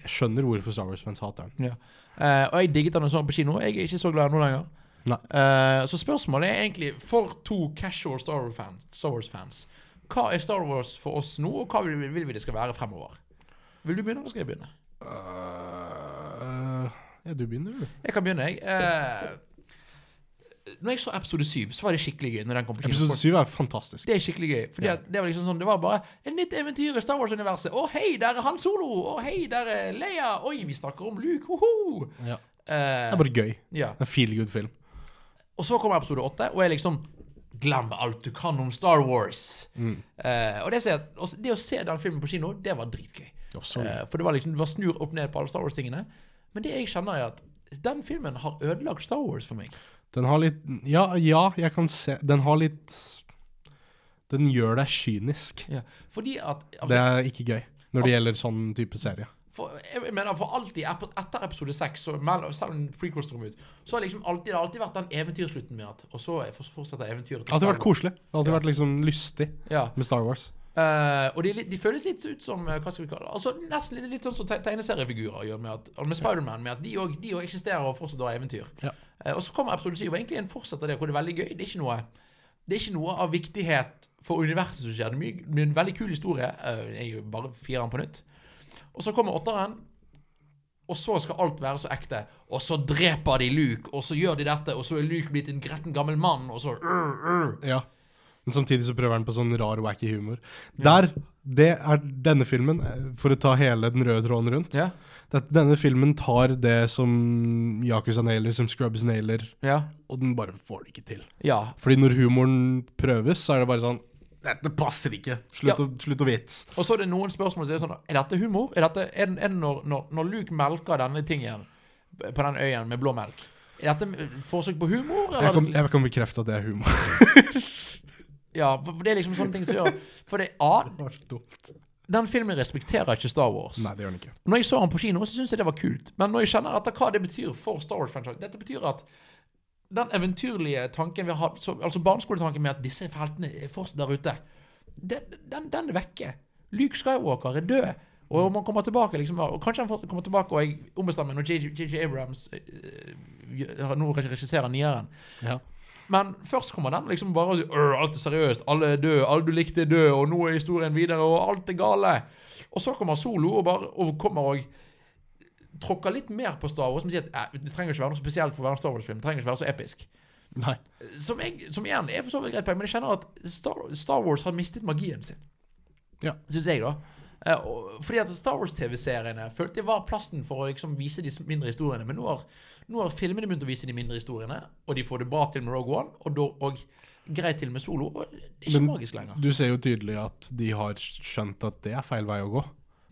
[SPEAKER 2] Jeg skjønner hvorfor Star Wars-fans hater den.
[SPEAKER 1] Eh, og jeg digget han sånn på kino. Jeg er ikke så glad i den nå lenger.
[SPEAKER 2] Nei.
[SPEAKER 1] Eh, så spørsmålet er egentlig, for to casual Star Wars-fans, Star Wars-fans hva er Star Wars for oss nå, og hva vil vi, vil vi det skal være fremover? Vil du begynne, eller skal jeg begynne?
[SPEAKER 2] Øh, ja, du begynner, du.
[SPEAKER 1] Jeg kan begynne, jeg. Eh, når jeg så episode 7, så var det skikkelig gøy. når den kom på kino.
[SPEAKER 2] Episode
[SPEAKER 1] Folk-
[SPEAKER 2] 7 er fantastisk.
[SPEAKER 1] Det er skikkelig gøy. Fordi
[SPEAKER 2] Ja.
[SPEAKER 1] at Det var liksom sånn, det var bare et nytt eventyr i Star Wars-universet. Å hei, der er Han Solo! Å hei, der er Leia! Oi, vi snakker om Luke! Hoho!
[SPEAKER 2] Ja. Det
[SPEAKER 1] Eh,
[SPEAKER 2] er bare gøy.
[SPEAKER 1] ja.
[SPEAKER 2] En feel good-film.
[SPEAKER 1] Og så kommer episode åtte, og jeg liksom Glem alt du kan om Star Wars.
[SPEAKER 2] Mm.
[SPEAKER 1] Eh, og det, ser, jeg- og det å se den filmen på kino, det var dritgøy. Eh, for det var liksom, det var snur opp ned på alle Star Wars-tingene. Men det jeg kjenner, er at den filmen har ødelagt Star Wars for meg.
[SPEAKER 2] Den har litt Ja, ja, jeg kan se Den har litt Den gjør deg kynisk.
[SPEAKER 1] Ja. Fordi at altså,
[SPEAKER 2] Det er ikke gøy når det gjelder sånn type serie.
[SPEAKER 1] for, jeg jeg mener, for alltid ep- etter episode 6, så mellom, selv om prequels kom ut, så har liksom alltid, det har alltid vært den eventyrslutten med at Og så er- fortsetter eventyret.
[SPEAKER 2] Det har alltid vært koselig. Det har alltid vært liksom lystig
[SPEAKER 1] Ja.
[SPEAKER 2] med Star Wars.
[SPEAKER 1] Eh, og de, er litt- de føles litt ut som eh, hva skal vi kalle det? Altså Nesten litt, litt sånn som te tegneseriefigurer gjør med, at, og med Spiderman. Med at de òg de også eksisterer og fortsetter å ha eventyr.
[SPEAKER 2] Ja.
[SPEAKER 1] Eh, og så kommer episode 7, og egentlig en fortsetter det, hvor det er veldig gøy. Det er ikke noe, det er ikke noe av viktighet for universet som skjer. Det er mye, det er en veldig kul historie. Eh, jeg bare firer den på nytt. Og så kommer åtteren. Og så skal alt være så ekte. Og så dreper de Luke, og så gjør de dette, og så er Luke blitt en gretten gammel mann, og så
[SPEAKER 2] Ja. Men samtidig så prøver han på sånn rar, wacky humor. Der, det er denne filmen, eh, for å ta hele den røde tråden rundt
[SPEAKER 1] Ja.
[SPEAKER 2] det- Denne filmen tar det som Yakuza nailer, som Scrubs nailer,
[SPEAKER 1] Ja.
[SPEAKER 2] og den bare får det ikke til.
[SPEAKER 1] ja.
[SPEAKER 2] Fordi når humoren prøves, så er det bare sånn Dette passer ikke. Slutt,
[SPEAKER 1] Ja.
[SPEAKER 2] å, slutt å vits.
[SPEAKER 1] Og så er det noen spørsmål som er sånn Er dette humor? Er, dette, er, den- er det når, når, når Luke melker denne tingen på den øyen med blå melk? Er dette forsøk på humor?
[SPEAKER 2] Jeg kan,
[SPEAKER 1] Eller?
[SPEAKER 2] jeg kan bekrefte at det er humor.
[SPEAKER 1] Ja, for for det er liksom sånne ting som gjør For det A,
[SPEAKER 2] Det var så dumt.
[SPEAKER 1] den filmen respekterer ikke Star Wars.
[SPEAKER 2] Nei, det gjør den ikke.
[SPEAKER 1] Når jeg så den på kino, så syntes jeg det var kult. Men når jeg kjenner etter hva det betyr for Star Wars-franchise Dette betyr at den eventyrlige tanken vi har så, Altså barneskoletanken med at disse heltene er fortsatt der ute, den, den, den er vekke. Luke Skywalker er død. Og om han kommer tilbake liksom, og Kanskje han får- kommer tilbake og jeg ombestemmer meg når JJ JJ Abrams eh, eh, nå regisserer nieren.
[SPEAKER 2] Ja.
[SPEAKER 1] Men først kommer den liksom bare og sier, «Øh, Alt er seriøst, alle er døde, alle du likte er døde, og nå er historien videre, og alt er gale. Og så kommer Solo og bare og kommer og tråkker litt mer på Star Wars. Som sier at «Eh, det trenger ikke være noe spesielt for å være en Star Wars-film. Det trenger ikke være så episk.
[SPEAKER 2] Nei.
[SPEAKER 1] Som, jeg, som igjen er for så vidt greit poeng, men jeg kjenner at Star, Star Wars har mistet magien sin.
[SPEAKER 2] Ja.
[SPEAKER 1] Syns jeg, da. Eh, og- Fordi at Star Wars-TV-seriene følte jeg var plassen for å liksom vise de mindre historiene. Men nå har, nå har filmene begynt å vise de mindre historiene, og de får det bra til med Rogue One, og, da- og greit til med Solo. Og det er ikke
[SPEAKER 2] Men-
[SPEAKER 1] magisk lenger.
[SPEAKER 2] Du ser jo tydelig at de har skjønt at det er feil vei å gå.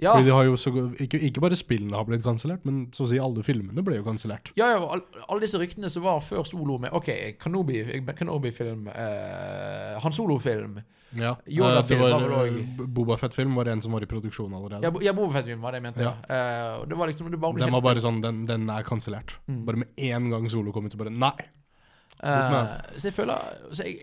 [SPEAKER 1] Ja,
[SPEAKER 2] Fordi de har jo så, go- ikke, ikke bare spillene har blitt kansellert, men så å si alle filmene ble jo kansellert.
[SPEAKER 1] ja, ja og all, alle disse ryktene som var før Solo med OK, Kenobi-film, Kenobi film, eh, Han Solo-film
[SPEAKER 2] Ja.
[SPEAKER 1] Yoda-film
[SPEAKER 2] Eh, det
[SPEAKER 1] var vel
[SPEAKER 2] var,
[SPEAKER 1] også-
[SPEAKER 2] B- Boba Fett-film var en som var i produksjon allerede.
[SPEAKER 1] Ja, Bo- ja Bobafett-film var det jeg mente, ja. Eh, og det var liksom, det bare ble
[SPEAKER 2] den
[SPEAKER 1] helt Mm.
[SPEAKER 2] var bare sånn, den, den er kansellert. Bare med én gang Solo kom ut, så bare Nei!
[SPEAKER 1] Eh, så jeg føler så jeg,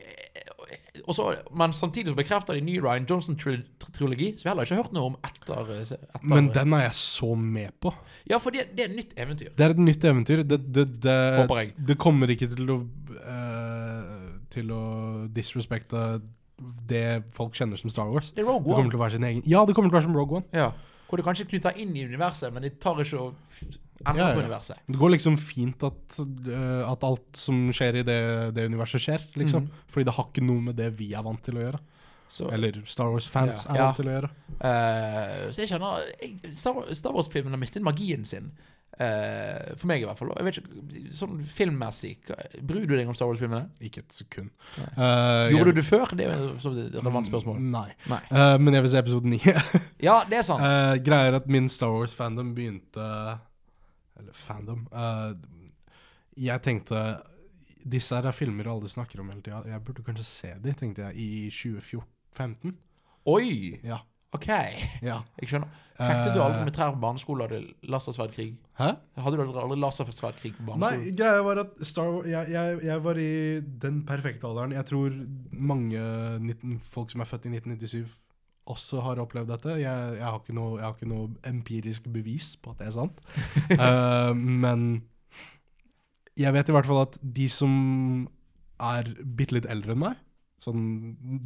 [SPEAKER 1] og så- Men samtidig så bekrefter de ny Ryan Johnson-trilogi, som vi heller ikke har hørt noe om etter, eh, etter
[SPEAKER 2] Men den er jeg så med på.
[SPEAKER 1] Ja, for det, det er et nytt eventyr.
[SPEAKER 2] Det er et nytt eventyr. Det, det, det,
[SPEAKER 1] Håper jeg.
[SPEAKER 2] det kommer ikke til å eh, Til å disrespekte det folk kjenner som Star Wars.
[SPEAKER 1] Det er Rogue
[SPEAKER 2] Det kommer
[SPEAKER 1] One.
[SPEAKER 2] til å være sin egen Ja, det kommer til å være som Rogue One.
[SPEAKER 1] Ja. Hvor du kanskje knytter inn i universet, men de tar ikke og endrer
[SPEAKER 2] Ja, ja.
[SPEAKER 1] på universet.
[SPEAKER 2] Det går liksom fint at, øh, at alt som skjer i det, det universet, skjer.
[SPEAKER 1] Mhm.
[SPEAKER 2] liksom. Fordi det har ikke noe med det vi er vant til å gjøre.
[SPEAKER 1] Så,
[SPEAKER 2] Eller Star Wars-fans
[SPEAKER 1] Ja.
[SPEAKER 2] er
[SPEAKER 1] Ja.
[SPEAKER 2] vant til å gjøre.
[SPEAKER 1] eh, så jeg kjenner jeg, Star Star Wars-filmen har mistet magien sin. Eh, for meg, i hvert fall. Og Jeg vet ikke, sånn filmmessig hva- Bryr du deg om Star Wars-filmene?
[SPEAKER 2] Ikke et sekund.
[SPEAKER 1] Nei.
[SPEAKER 2] Eh, jeg-
[SPEAKER 1] Gjorde du det før? Det er jo et sånt relevant spørsmål.
[SPEAKER 2] Nei.
[SPEAKER 1] Nei.
[SPEAKER 2] Eh, men jeg vil se episode 9.
[SPEAKER 1] Ja, det er sant.
[SPEAKER 2] Eh, greier at min Star Wars-fandom begynte Eller fandom eh, Jeg tenkte Disse her er filmer alle snakker om hele tida. Jeg burde kanskje se de, tenkte jeg, i 2015.
[SPEAKER 1] Oi!
[SPEAKER 2] Ja.
[SPEAKER 1] OK. Jeg
[SPEAKER 2] ja.
[SPEAKER 1] skjønner. Fektet du
[SPEAKER 2] Eh.
[SPEAKER 1] aldri med trær på barneskolen? Hadde lasersverdkrig?
[SPEAKER 2] Hæ?
[SPEAKER 1] Hadde du aldri lasersverdkrig på barneskolen?
[SPEAKER 2] Nei, greia var at Star Wars jeg, jeg, jeg var i den perfekte alderen. Jeg tror mange 19, folk som er født i 1997 også har opplevd dette. Jeg, jeg, har ikke noe, jeg har ikke noe empirisk bevis på at det er sant. Eh, men jeg vet i hvert fall at de som er bitte litt eldre enn meg, sånn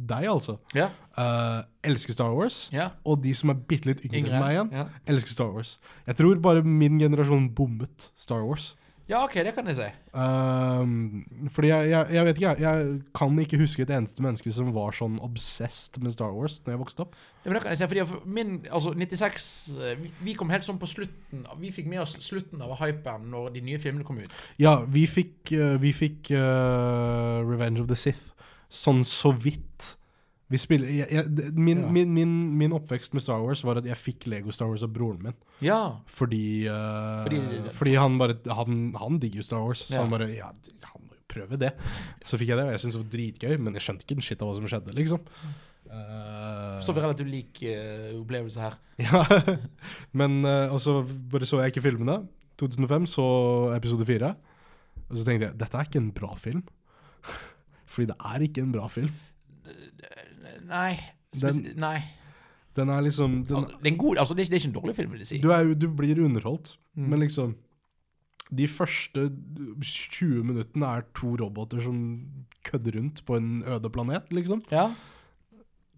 [SPEAKER 2] deg altså,
[SPEAKER 1] Ja.
[SPEAKER 2] eh, elsker Star Wars.
[SPEAKER 1] ja.
[SPEAKER 2] Og de som er bitte litt yngre enn
[SPEAKER 1] Yngre.
[SPEAKER 2] meg igjen,
[SPEAKER 1] Ja.
[SPEAKER 2] elsker Star Wars. Jeg tror bare min generasjon bommet Star Wars.
[SPEAKER 1] ja, OK, det kan jeg si.
[SPEAKER 2] Ehm, fordi jeg, jeg, jeg vet ikke, jeg, jeg kan ikke huske et eneste menneske som var sånn obsessed med Star Wars når jeg vokste opp.
[SPEAKER 1] Ja, men det kan jeg si, fordi for min, altså 96, eh, vi- vi kom helt sånn på slutten, av- vi fikk med oss slutten av hypen når de nye filmene kom ut.
[SPEAKER 2] Ja, vi fikk, eh, vi fikk eh, Revenge of the Sith sånn så vidt. Vi spiller, jeg, jeg, det- min,
[SPEAKER 1] Ja.
[SPEAKER 2] min, min, min oppvekst med Star Wars var at jeg fikk Lego Star Wars av broren min.
[SPEAKER 1] Ja,
[SPEAKER 2] Fordi, eh,
[SPEAKER 1] Fordi-
[SPEAKER 2] fordi, han bare Han, han digger jo Star Wars, så
[SPEAKER 1] Ja.
[SPEAKER 2] han bare Ja, d- han må jo prøve det. Så fikk jeg det, og jeg syntes det var dritgøy, men jeg skjønte ikke en shit av hva som skjedde, liksom. Eh,
[SPEAKER 1] så vi har relativt lik eh, opplevelse her.
[SPEAKER 2] Ja, men eh, Og så bare så jeg ikke filmene. 2005 så episode 4. Og så tenkte jeg dette er ikke en bra film. Fordi det er ikke en bra film.
[SPEAKER 1] Nei, spes- nei.
[SPEAKER 2] Den er liksom den,
[SPEAKER 1] Altså, det er en god, altså det er, ikke- det er ikke en dårlig film, vil jeg si.
[SPEAKER 2] du, er, jo- du blir underholdt,
[SPEAKER 1] Mm.
[SPEAKER 2] men liksom De første 20 minuttene er to roboter som kødder rundt på en øde planet, liksom.
[SPEAKER 1] Ja,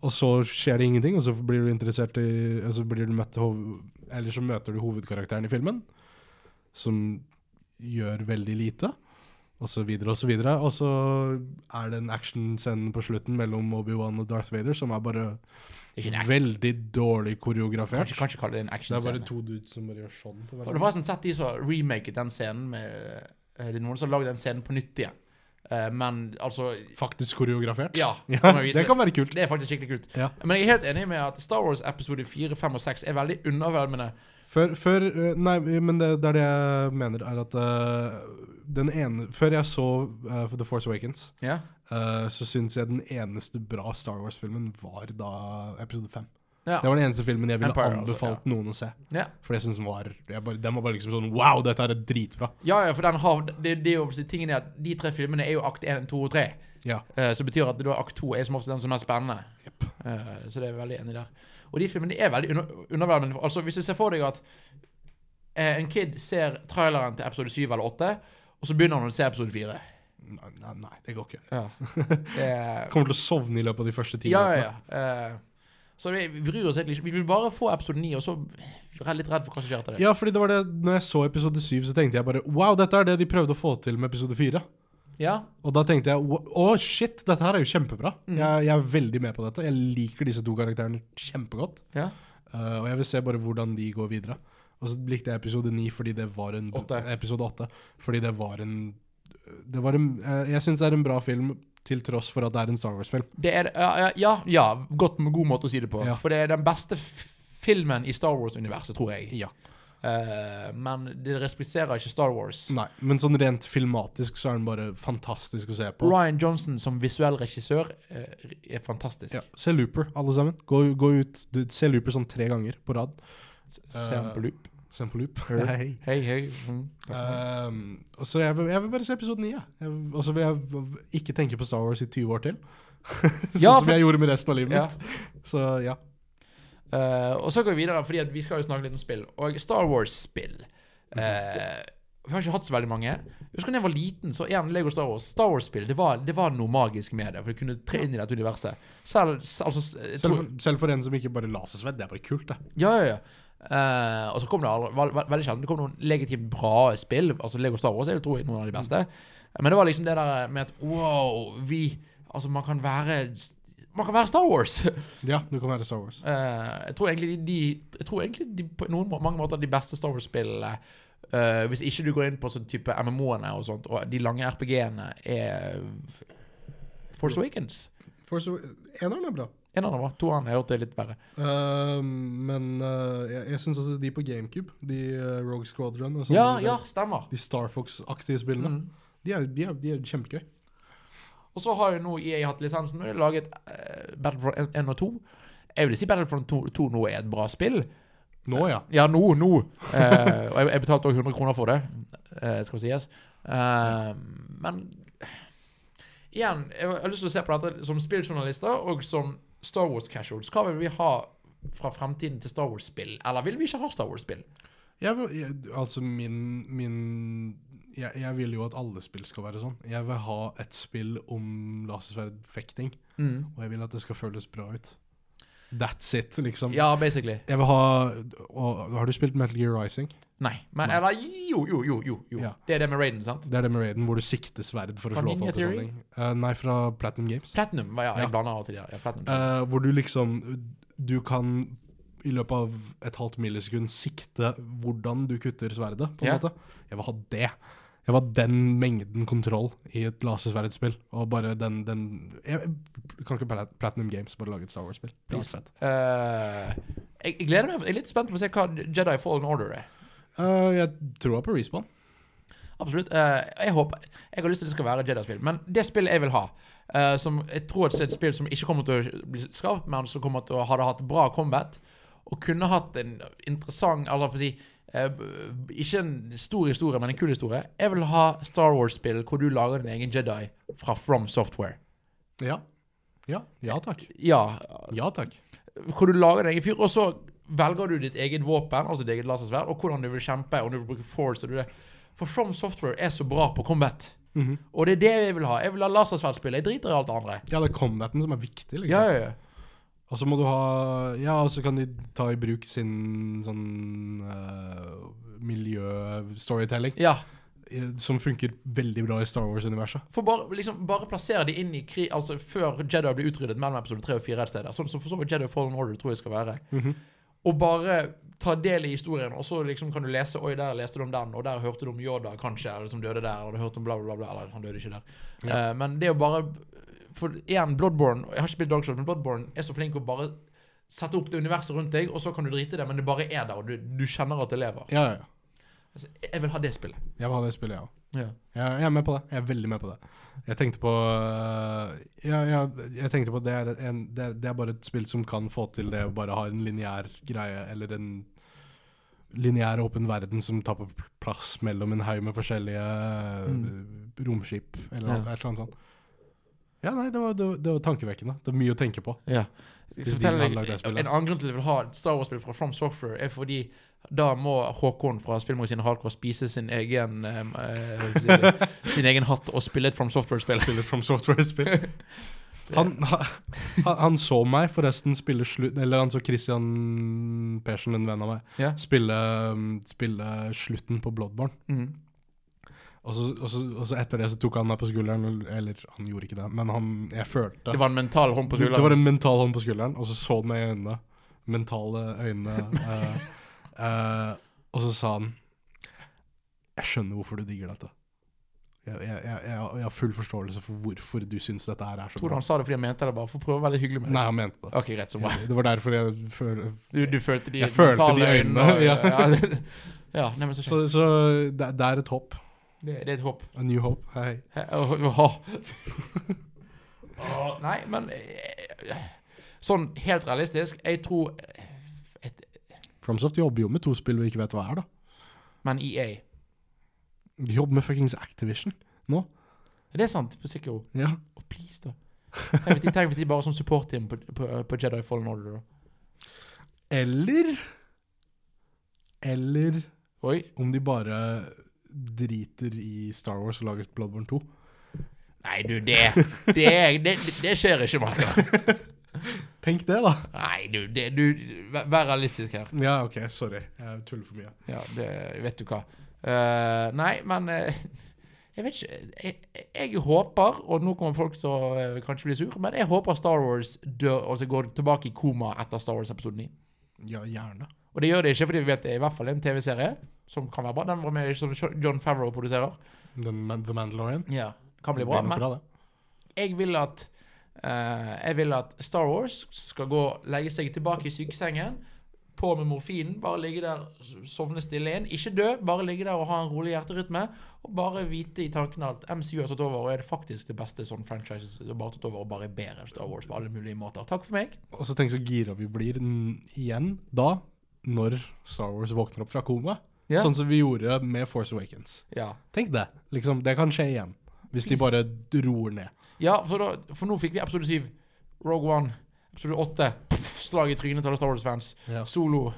[SPEAKER 2] Og så skjer det ingenting, og så blir du interessert i og så blir du møtt til hov- Eller så møter du hovedkarakteren i filmen, som gjør veldig lite, og så videre og så videre. Og så er det en actionscene på slutten mellom Obi-Wan og Darth Vader som er bare
[SPEAKER 1] det er ikke en action.
[SPEAKER 2] veldig dårlig koreografert.
[SPEAKER 1] Kanskje, kanskje kalle det en
[SPEAKER 2] Det er bare
[SPEAKER 1] actionscene.
[SPEAKER 2] to dudes som bare gjør sånn på
[SPEAKER 1] Har du
[SPEAKER 2] hverandre.
[SPEAKER 1] forresten sett de som har remaket den scenen med eh, Det er noen som har lagd den scenen på nytt igjen. Eh, men altså
[SPEAKER 2] Faktisk koreografert?
[SPEAKER 1] Ja.
[SPEAKER 2] Ja,
[SPEAKER 1] må jeg vise deg.
[SPEAKER 2] det kan være kult.
[SPEAKER 1] det er faktisk skikkelig kult.
[SPEAKER 2] Ja.
[SPEAKER 1] Men jeg er helt enig med at Star Wars episode 4, 5 og 6 er veldig undervelmende.
[SPEAKER 2] Før, før eh, Nei, men det, det er det jeg mener, er at eh, den ene Før jeg så eh, The Force Awakens,
[SPEAKER 1] Ja.
[SPEAKER 2] eh, så syns jeg den eneste bra Star Wars-filmen var da episode fem.
[SPEAKER 1] Ja.
[SPEAKER 2] Det var den eneste filmen jeg ville
[SPEAKER 1] Empire, altså,
[SPEAKER 2] anbefalt noen å se.
[SPEAKER 1] Ja.
[SPEAKER 2] For jeg synes den var jeg bare, Den var bare liksom sånn Wow, dette her er dritbra!
[SPEAKER 1] Ja, ja, for den har, det, det er jo, tingen er at de tre filmene er jo akt 1, 2 og 3.
[SPEAKER 2] Ja.
[SPEAKER 1] Eh, som betyr at da akt 2 er som ofte den som er spennende.
[SPEAKER 2] Jep.
[SPEAKER 1] Eh, så det er jeg veldig enig der. Og de filmene er veldig under, undervelmende. Altså, hvis du ser for deg at eh, en kid ser traileren til episode 7 eller 8, og så begynner han å se episode 4.
[SPEAKER 2] Nei, nei, nei, det går ikke.
[SPEAKER 1] Ja. Det er,
[SPEAKER 2] Jeg kommer til å sovne i løpet av de første ti
[SPEAKER 1] ja, ja, ja. Eh, så det, vi bryr oss egentlig ikke. Vi vil bare få episode 9, og så er jeg litt redd for hva som skjer etter det.
[SPEAKER 2] Ja, fordi det var det Når jeg så episode syv, så tenkte jeg bare Wow, dette er det de prøvde å få til med episode fire.
[SPEAKER 1] Ja.
[SPEAKER 2] Og da tenkte jeg Å, shit, dette her er jo kjempebra.
[SPEAKER 1] Mm.
[SPEAKER 2] Jeg, jeg er veldig med på dette. Jeg liker disse to karakterene kjempegodt.
[SPEAKER 1] ja.
[SPEAKER 2] Eh, og jeg vil se bare hvordan de går videre. Og så likte jeg episode 9 fordi det var en
[SPEAKER 1] Åtte.
[SPEAKER 2] Episode 8. Fordi det var en Det var en eh, Jeg syns det er en bra film til tross for at det er en Star Wars-film.
[SPEAKER 1] Det er, ja, ja, ja, ja godt, god måte å si det på.
[SPEAKER 2] Ja.
[SPEAKER 1] For det er den beste f- filmen i Star Wars-universet, tror jeg.
[SPEAKER 2] Ja.
[SPEAKER 1] Eh, men det respekterer ikke Star Wars.
[SPEAKER 2] Nei, men sånn rent filmatisk så er den bare fantastisk å se på.
[SPEAKER 1] Ryan Johnson som visuell regissør eh, er fantastisk.
[SPEAKER 2] Ja, se Looper, alle sammen. Gå, gå ut du, Se Looper sånn tre ganger på rad.
[SPEAKER 1] S- Ser han på loop.
[SPEAKER 2] Se den på loop.
[SPEAKER 1] Hei,
[SPEAKER 2] Eh.
[SPEAKER 1] hei. Mm, takk for meg.
[SPEAKER 2] Ehm, og så jeg, vil- jeg vil bare se episode 9. Ja. Jeg- Og så vil jeg v- ikke tenke på Star Wars i 20 år til. sånn
[SPEAKER 1] Ja,
[SPEAKER 2] som
[SPEAKER 1] for-
[SPEAKER 2] jeg gjorde med resten av livet
[SPEAKER 1] Ja.
[SPEAKER 2] mitt. Så ja.
[SPEAKER 1] Eh, og så går vi videre, fordi at vi skal jo snakke litt om spill. Og Star Wars-spill
[SPEAKER 2] Mhm.
[SPEAKER 1] eh, Vi har ikke hatt så veldig mange. Husker da jeg var liten, så igjen Lego Star Wars. Star Wars-spill, det, var- det var noe magisk med det. For du kunne tre inn i dette universet. Selv, s- altså, s- jeg tror-
[SPEAKER 2] Selv for, selv for en som ikke bare lasersvett, det er bare kult, det.
[SPEAKER 1] Ja, ja, ja. Eh, og så kom det aldri, vel- vel- veldig sjelden Det kom noen legitimt bra spill. Altså Lego Star Wars er jo tror jeg noen av de beste. Men det var liksom det der med at wow, vi Altså, man kan være Man kan være Star Wars!
[SPEAKER 2] Ja, du kan være Star Wars.
[SPEAKER 1] Eh, jeg tror egentlig de, de Jeg tror egentlig de, på noen, må- mange måter de beste Star Wars-spillene eh, Hvis ikke du går inn på sånn type MMO-ene og sånt, og de lange RPG-ene, er Force Awakens.
[SPEAKER 2] Force Awakens- Eneren er bra.
[SPEAKER 1] En av dem var. To andre jeg hørte litt verre.
[SPEAKER 2] Eh, men eh, jeg, jeg syns også de på GameCube, de eh, Rogue Squadron og sånne
[SPEAKER 1] Ja,
[SPEAKER 2] de,
[SPEAKER 1] ja, stemmer.
[SPEAKER 2] de Star Fox-aktige spillene,
[SPEAKER 1] Mm.
[SPEAKER 2] de, er, de, er, de er kjempegøy.
[SPEAKER 1] Og så har jo nå EA hatt lisensen og de har laget eh, Battlefront 1 og 2. Jeg vil si Battlefront 2, 2 nå er et bra spill.
[SPEAKER 2] Nå, ja.
[SPEAKER 1] Ja, nå, nå. Eh, og jeg, jeg betalte også 100 kroner for det, eh, skal sies. Eh, men igjen, jeg har lyst til å se på dette som spilljournalister og som Star Wars casuals. Hva vil vi ha fra fremtiden til Star Wars-spill? Eller vil vi ikke ha Star Wars-spill?
[SPEAKER 2] Jeg, vil- jeg, altså min, min jeg, jeg vil jo at alle spill skal være sånn. Jeg vil ha et spill om lasersverdfekting, og jeg vil at det skal føles bra ut. That's it, liksom.
[SPEAKER 1] Ja, basically.
[SPEAKER 2] Jeg vil ha og, Har du spilt Metal Gear Rising?
[SPEAKER 1] Nei. Men, eller jo, jo, jo. jo, jo.
[SPEAKER 2] Ja.
[SPEAKER 1] Det er det med Raiden, sant?
[SPEAKER 2] Det er det med Raiden hvor du sikter sverd for å
[SPEAKER 1] Fra
[SPEAKER 2] slå
[SPEAKER 1] Ninja
[SPEAKER 2] folk. og sånne
[SPEAKER 1] Theory?
[SPEAKER 2] ting. Eh, nei, fra Platinum Games.
[SPEAKER 1] Platinum. Ja, jeg
[SPEAKER 2] Ja.
[SPEAKER 1] blander av og til. Ja, ja, Platinum.
[SPEAKER 2] Eh, hvor du liksom Du kan i løpet av et halvt millisekund sikte hvordan du kutter sverdet, på en
[SPEAKER 1] Ja.
[SPEAKER 2] måte. Jeg vil ha det. Jeg vil ha den mengden kontroll i et lasersverdspill. Og bare den, den jeg, Kan ikke Plat- Platinum Games bare lage et Star Wars-spill? Det hadde vært
[SPEAKER 1] Please.
[SPEAKER 2] fett.
[SPEAKER 1] Eh, jeg, jeg gleder meg. Jeg er litt spent på å se hva Jedi Fallen Order er.
[SPEAKER 2] Eh, jeg tror på respawn.
[SPEAKER 1] Absolutt. Eh, jeg håper Jeg har lyst til at det skal være et Jedi-spill, men det spillet jeg vil ha eh, som Jeg tror det er et spill som ikke kommer til å bli skarpt, men som kommer til å ha hatt bra combat, og kunne hatt en interessant Eller for å si eh, b- ikke en stor historie, men en kul historie. Jeg vil ha Star Wars-spill hvor du lager din egen Jedi fra From Software.
[SPEAKER 2] Ja. Ja, ja takk.
[SPEAKER 1] Ja,
[SPEAKER 2] Ja takk.
[SPEAKER 1] hvor du lager din egen fyr, og så velger du ditt eget våpen, altså ditt eget lasersverd, og hvordan du vil kjempe, om du vil bruke force og du det. For From Software er så bra på combat. Og det er det jeg vil ha. Jeg vil ha lasersverdspill. Jeg driter i alt det andre.
[SPEAKER 2] Ja, det er combaten som er viktig, liksom.
[SPEAKER 1] Ja, ja, ja.
[SPEAKER 2] Og så må du ha Ja, og så kan de ta i bruk sin sånn eh, miljø-storytelling.
[SPEAKER 1] ja.
[SPEAKER 2] eh, som funker veldig bra i Star Wars-universet.
[SPEAKER 1] For bare, liksom, bare plassere de inn i krig, altså før Jedi blir utryddet mellom episode 3 og 4 et sted. der. Sånn som for så vidt Jedi Fallen Order tror jeg skal være. Og bare ta del i historien, og så liksom kan du lese Oi, der leste du om den, og der hørte du om Yoda, kanskje, eller som døde der, eller du hørte om bla, bla, bla, bla. Eller han døde ikke der. Eh, men det å bare For igjen, Bloodborne Jeg har ikke spilt Darkshot, men Bloodborne er så flink å bare sette opp det universet rundt deg, og så kan du drite i det, men det bare er der, og du, du kjenner at det lever.
[SPEAKER 2] Ja, ja, ja.
[SPEAKER 1] Altså, jeg vil ha det spillet.
[SPEAKER 2] Jeg vil ha det spillet, jeg òg.
[SPEAKER 1] Ja.
[SPEAKER 2] Jeg, jeg er med på det. Jeg er veldig med på det. Jeg tenkte på øh, ja, ja, jeg tenkte på at det er, en, det, er, det er bare et spill som kan få til det å bare ha en lineær greie, eller en lineær åpen verden som tar på pl- plass mellom en haug med forskjellige
[SPEAKER 1] Mm.
[SPEAKER 2] øh, romskip, eller
[SPEAKER 1] Ja.
[SPEAKER 2] noe- et eller annet sånt. Ja, nei, det var, det, var- det var tankevekkende. Det er mye å tenke på.
[SPEAKER 1] Ja. Jeg skal
[SPEAKER 2] Hvis de
[SPEAKER 1] fortelle
[SPEAKER 2] hadde lagd det
[SPEAKER 1] deg,
[SPEAKER 2] spillet.
[SPEAKER 1] en annen grunn til at jeg vil ha et Star Wars-spill fra From Software, er fordi da må Håkon fra spillmagasinet Hardcore spise sin egen em, eh, sin, sin egen hatt og spille et From Software-spill.
[SPEAKER 2] spiller From Software-spill. Han, han, han så meg forresten spille slutt... Eller han så Christian Persen, en venn av meg,
[SPEAKER 1] Ja.
[SPEAKER 2] spille, um, spille slutten på Bloodborne.
[SPEAKER 1] Mm.
[SPEAKER 2] Og så, og, så, og så etter det så tok han meg på skulderen, eller han gjorde ikke det, men han, jeg følte
[SPEAKER 1] Det var en mental hånd på
[SPEAKER 2] det, det var
[SPEAKER 1] skulderen.
[SPEAKER 2] en mental hånd på skulderen, og så så han meg i øynene. Mentale øynene. eh, eh, og så sa han Jeg skjønner hvorfor du digger dette. Jeg, jeg, jeg, jeg, jeg har full forståelse for hvorfor du syns dette her er så
[SPEAKER 1] Tror du
[SPEAKER 2] bra.
[SPEAKER 1] han sa det fordi han mente det bare for å prøve å være litt hyggelig med deg?
[SPEAKER 2] Nei, han mente det.
[SPEAKER 1] Ok, greit, så bra.
[SPEAKER 2] Det var derfor jeg føler
[SPEAKER 1] Du, du følte de
[SPEAKER 2] Jeg følte
[SPEAKER 1] mentale
[SPEAKER 2] de
[SPEAKER 1] øynene.
[SPEAKER 2] øynene, ja.
[SPEAKER 1] ja. ja, nei, men så
[SPEAKER 2] Så,
[SPEAKER 1] skjønt.
[SPEAKER 2] så det, det er et håp.
[SPEAKER 1] Det, det er et håp.
[SPEAKER 2] A new hope. Hei. hei.
[SPEAKER 1] Hæ? Åh, åh. Åh, Nei, men eh, Sånn helt realistisk, jeg tror eh,
[SPEAKER 2] Fromsoft jobber jo med to spill vi ikke vet hva er, da.
[SPEAKER 1] Men E EA
[SPEAKER 2] De jobber med fuckings Activision nå.
[SPEAKER 1] Det er sant, på sikker ord.
[SPEAKER 2] Ja.
[SPEAKER 1] Å, please, da. Tenk hvis de, tenk hvis de bare er sånn support-team på, på, på Jedi Fallen Order, da.
[SPEAKER 2] Eller Eller
[SPEAKER 1] Oi.
[SPEAKER 2] om de bare driter i Star Wars og lager Bloodborne 2.
[SPEAKER 1] Nei, du, det Det, det, det skjer ikke, Marka.
[SPEAKER 2] Tenk det, da.
[SPEAKER 1] Nei, du, det, du vær- Vær realistisk her.
[SPEAKER 2] Ja, OK, sorry. Jeg tuller for mye.
[SPEAKER 1] Ja, det vet du hva. Eh, nei, men eh, Jeg vet ikke. Jeg, jeg håper, og nå kommer folk til å eh, kanskje bli sur, men jeg håper Star Wars dør, altså går tilbake i koma etter Star Wars episode 9.
[SPEAKER 2] Ja, gjerne.
[SPEAKER 1] Og det gjør det ikke fordi vi vet det er i hvert fall en TV-serie som kan være bra. Den var med, som John Favreau produserer.
[SPEAKER 2] Den, Man- The Mandalorian.
[SPEAKER 1] Ja, kan bli bra.
[SPEAKER 2] nok
[SPEAKER 1] Men
[SPEAKER 2] det.
[SPEAKER 1] jeg vil at eh, jeg vil at Star Wars skal gå legge seg tilbake i sykesengen, på med morfinen, bare ligge der, sovne stille inn. Ikke dø, bare ligge der og ha en rolig hjerterytme. Og bare vite i tankene at MCU har tatt over, og er det faktisk det beste sånn franchises som bare har tatt over, og bare er bedre enn Star Wars på alle mulige måter. Takk for meg.
[SPEAKER 2] Og så tenk så gira vi blir n igjen da, når Star Wars våkner opp fra koma.
[SPEAKER 1] Ja.
[SPEAKER 2] Sånn som vi gjorde med Force Awakens.
[SPEAKER 1] Ja.
[SPEAKER 2] Tenk det. Liksom, det kan skje igjen. Hvis de
[SPEAKER 1] Please.
[SPEAKER 2] bare roer ned.
[SPEAKER 1] Ja, for, da, for nå fikk vi episode 7. Rogue One. Episode 8. Pff, slag i trynet til alle Star Wars-fans.
[SPEAKER 2] Ja.
[SPEAKER 1] Solo.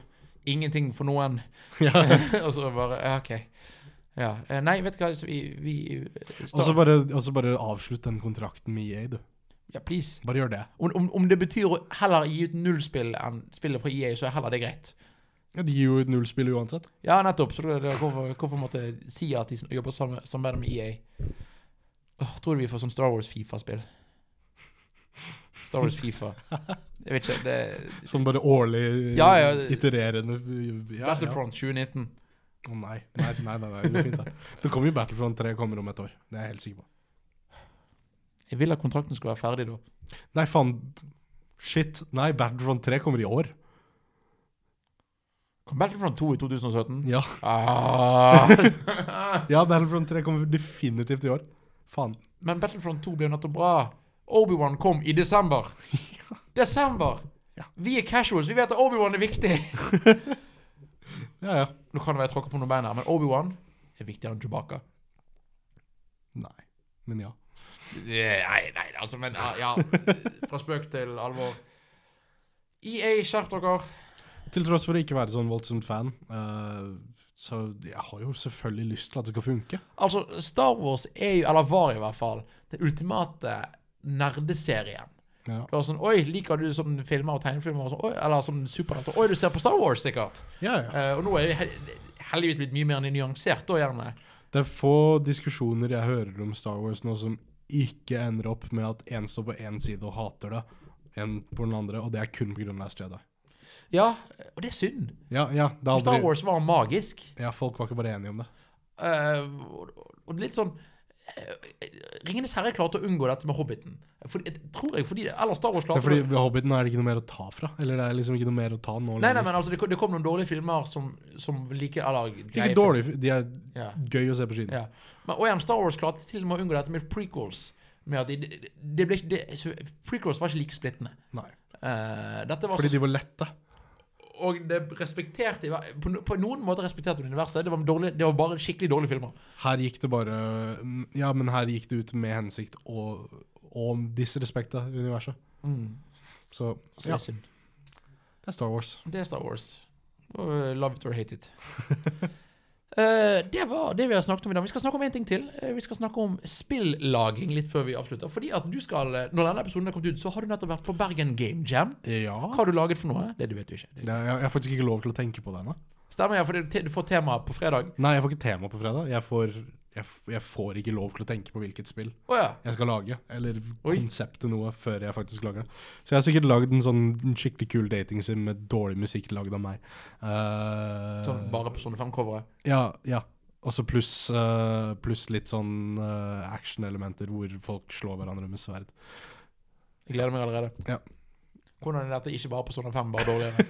[SPEAKER 1] Ingenting for noen. og så bare Ja, OK. Ja. eh, Nei, vet du hva så Vi, vi eh,
[SPEAKER 2] Og
[SPEAKER 1] Star,
[SPEAKER 2] så bare, og så bare avslutt den kontrakten med EA, du.
[SPEAKER 1] Ja, please.
[SPEAKER 2] Bare gjør det.
[SPEAKER 1] Om, om, om det betyr å heller gi ut nullspill enn spillet fra EA, så er heller det greit.
[SPEAKER 2] Ja, de gir jo et nullspill uansett.
[SPEAKER 1] Ja, nettopp. Så det, det, hvorfor, hvorfor måtte si at de sn- jobber sammen, sammen med EA? Åh, tror du vi får sånn Star Wars-Fifa-spill? Star Wars-Fifa. Jeg vet ikke. Det,
[SPEAKER 2] Sånn bare årlig
[SPEAKER 1] Ja, ja.
[SPEAKER 2] itererende eh, ja,
[SPEAKER 1] Battlefront 2019.
[SPEAKER 2] Ja. Å nei. Nei, nei, nei, nei, det er fint. Da. Det kommer jo Battlefront 3 kommer om et år. Det er jeg helt sikker på.
[SPEAKER 1] Jeg vil at kontrakten skulle være ferdig da.
[SPEAKER 2] Nei, faen. Shit. Nei, Battlefront 3 kommer i år.
[SPEAKER 1] Kom Battlefront 2 i 2017?
[SPEAKER 2] Ja.
[SPEAKER 1] Ah.
[SPEAKER 2] Ja, Battlefront 3 kommer definitivt i år. Faen.
[SPEAKER 1] Men Battlefront 2 ble jo nettopp bra. Obi-Wan kom i desember. Desember!
[SPEAKER 2] Ja.
[SPEAKER 1] Vi er casuals. Vi vet at Obi-Wan er viktig.
[SPEAKER 2] Ja, ja.
[SPEAKER 1] Nå kan det være jeg tråkker på noen bein her, men Obi-Wan er viktigere enn Chewbacca.
[SPEAKER 2] Nei, men ja.
[SPEAKER 1] Eh, Nei, nei, altså, men ah, ja. Fra spøk til alvor. EA, skjerp dere.
[SPEAKER 2] Til tross for å ikke være sånn voldsomt fan, eh, så jeg har jo selvfølgelig lyst til at det skal funke.
[SPEAKER 1] Altså, Star Wars er jo, eller var i hvert fall, den ultimate nerdeserien.
[SPEAKER 2] Ja,
[SPEAKER 1] Det var sånn, Oi, liker du sånne filmer og tegnefilmer? Og sånn, Oi, eller sånn superhelter? Oi, du ser på Star Wars, sikkert!
[SPEAKER 2] ja. ja.
[SPEAKER 1] Eh, og nå er det he- heldigvis blitt mye mer nyansert, da, gjerne.
[SPEAKER 2] Det er få diskusjoner jeg hører om Star Wars nå som ikke ender opp med at én står på én side og hater det, en på den andre, og det er kun pga. Last Jedi.
[SPEAKER 1] Ja, og det er synd.
[SPEAKER 2] Ja, ja, det er
[SPEAKER 1] For Star
[SPEAKER 2] aldri
[SPEAKER 1] Wars var magisk.
[SPEAKER 2] Ja, folk var ikke bare enige om det.
[SPEAKER 1] Eh, og, og litt sånn eh, Ringenes herre klarte å unngå dette med Hobbiten. For, jeg tror jeg, fordi, eller Star Wars
[SPEAKER 2] Det
[SPEAKER 1] klarte
[SPEAKER 2] er fordi ved Hobbiten er det ikke noe mer å ta fra. Eller det er liksom ikke noe mer å ta nå
[SPEAKER 1] Nei, nei, men altså, det kom, det kom noen dårlige filmer som, som like Eller greie
[SPEAKER 2] Det er ikke
[SPEAKER 1] filmer.
[SPEAKER 2] dårlig, de er
[SPEAKER 1] Ja.
[SPEAKER 2] gøy å se på siden.
[SPEAKER 1] Ja. Men, og igjen, Star Wars klarte til og med å unngå dette med prequels. Med at de, de, de ble, ikke- de, så prequels var ikke like splittende.
[SPEAKER 2] Nei.
[SPEAKER 1] Eh, dette var
[SPEAKER 2] Fordi
[SPEAKER 1] så,
[SPEAKER 2] de var lette.
[SPEAKER 1] og det respekterte i hver- på, no- på noen måter respekterte universet. Det var, dårlig, det var bare skikkelig dårlige filmer.
[SPEAKER 2] Her gikk det bare mm, Ja, men her gikk det ut med hensikt og, og disrespekt av universet.
[SPEAKER 1] Mm.
[SPEAKER 2] Så
[SPEAKER 1] Så det
[SPEAKER 2] ja,
[SPEAKER 1] er synd.
[SPEAKER 2] det er Star Wars.
[SPEAKER 1] Det er Star Wars. Og Love it or hate it. Eh, det var det vi har snakket om i dag. Vi skal snakke om en ting til. Eh, vi skal snakke om spilllaging litt før vi avslutter. Fordi at du skal, eh, Når denne episoden er kommet ut, så har du nettopp vært på Bergen Game Jam.
[SPEAKER 2] Ja.
[SPEAKER 1] Hva har du laget for noe? Det du vet du ikke.
[SPEAKER 2] Jeg, jeg har faktisk ikke lov til å tenke på det ennå.
[SPEAKER 1] Stemmer, ja, for det- te- du får tema på fredag.
[SPEAKER 2] Nei, jeg får ikke tema på fredag. Jeg får, jeg, f- jeg får ikke lov til å tenke på hvilket spill
[SPEAKER 1] Å ja.
[SPEAKER 2] jeg skal lage, eller
[SPEAKER 1] Oi.
[SPEAKER 2] konseptet noe, før jeg faktisk lager det. Så jeg har sikkert lagd en sånn skikkelig kul datingsim med dårlig musikk lagd av meg. Eh,
[SPEAKER 1] Sånn, bare Persone 5-coveret.
[SPEAKER 2] Ja, ja. Og så pluss eh, pluss litt sånn eh, action-elementer hvor folk slår hverandre med sverd.
[SPEAKER 1] Jeg gleder meg allerede.
[SPEAKER 2] Ja.
[SPEAKER 1] Hvordan er dette ikke bare Persone 5, bare dårligere?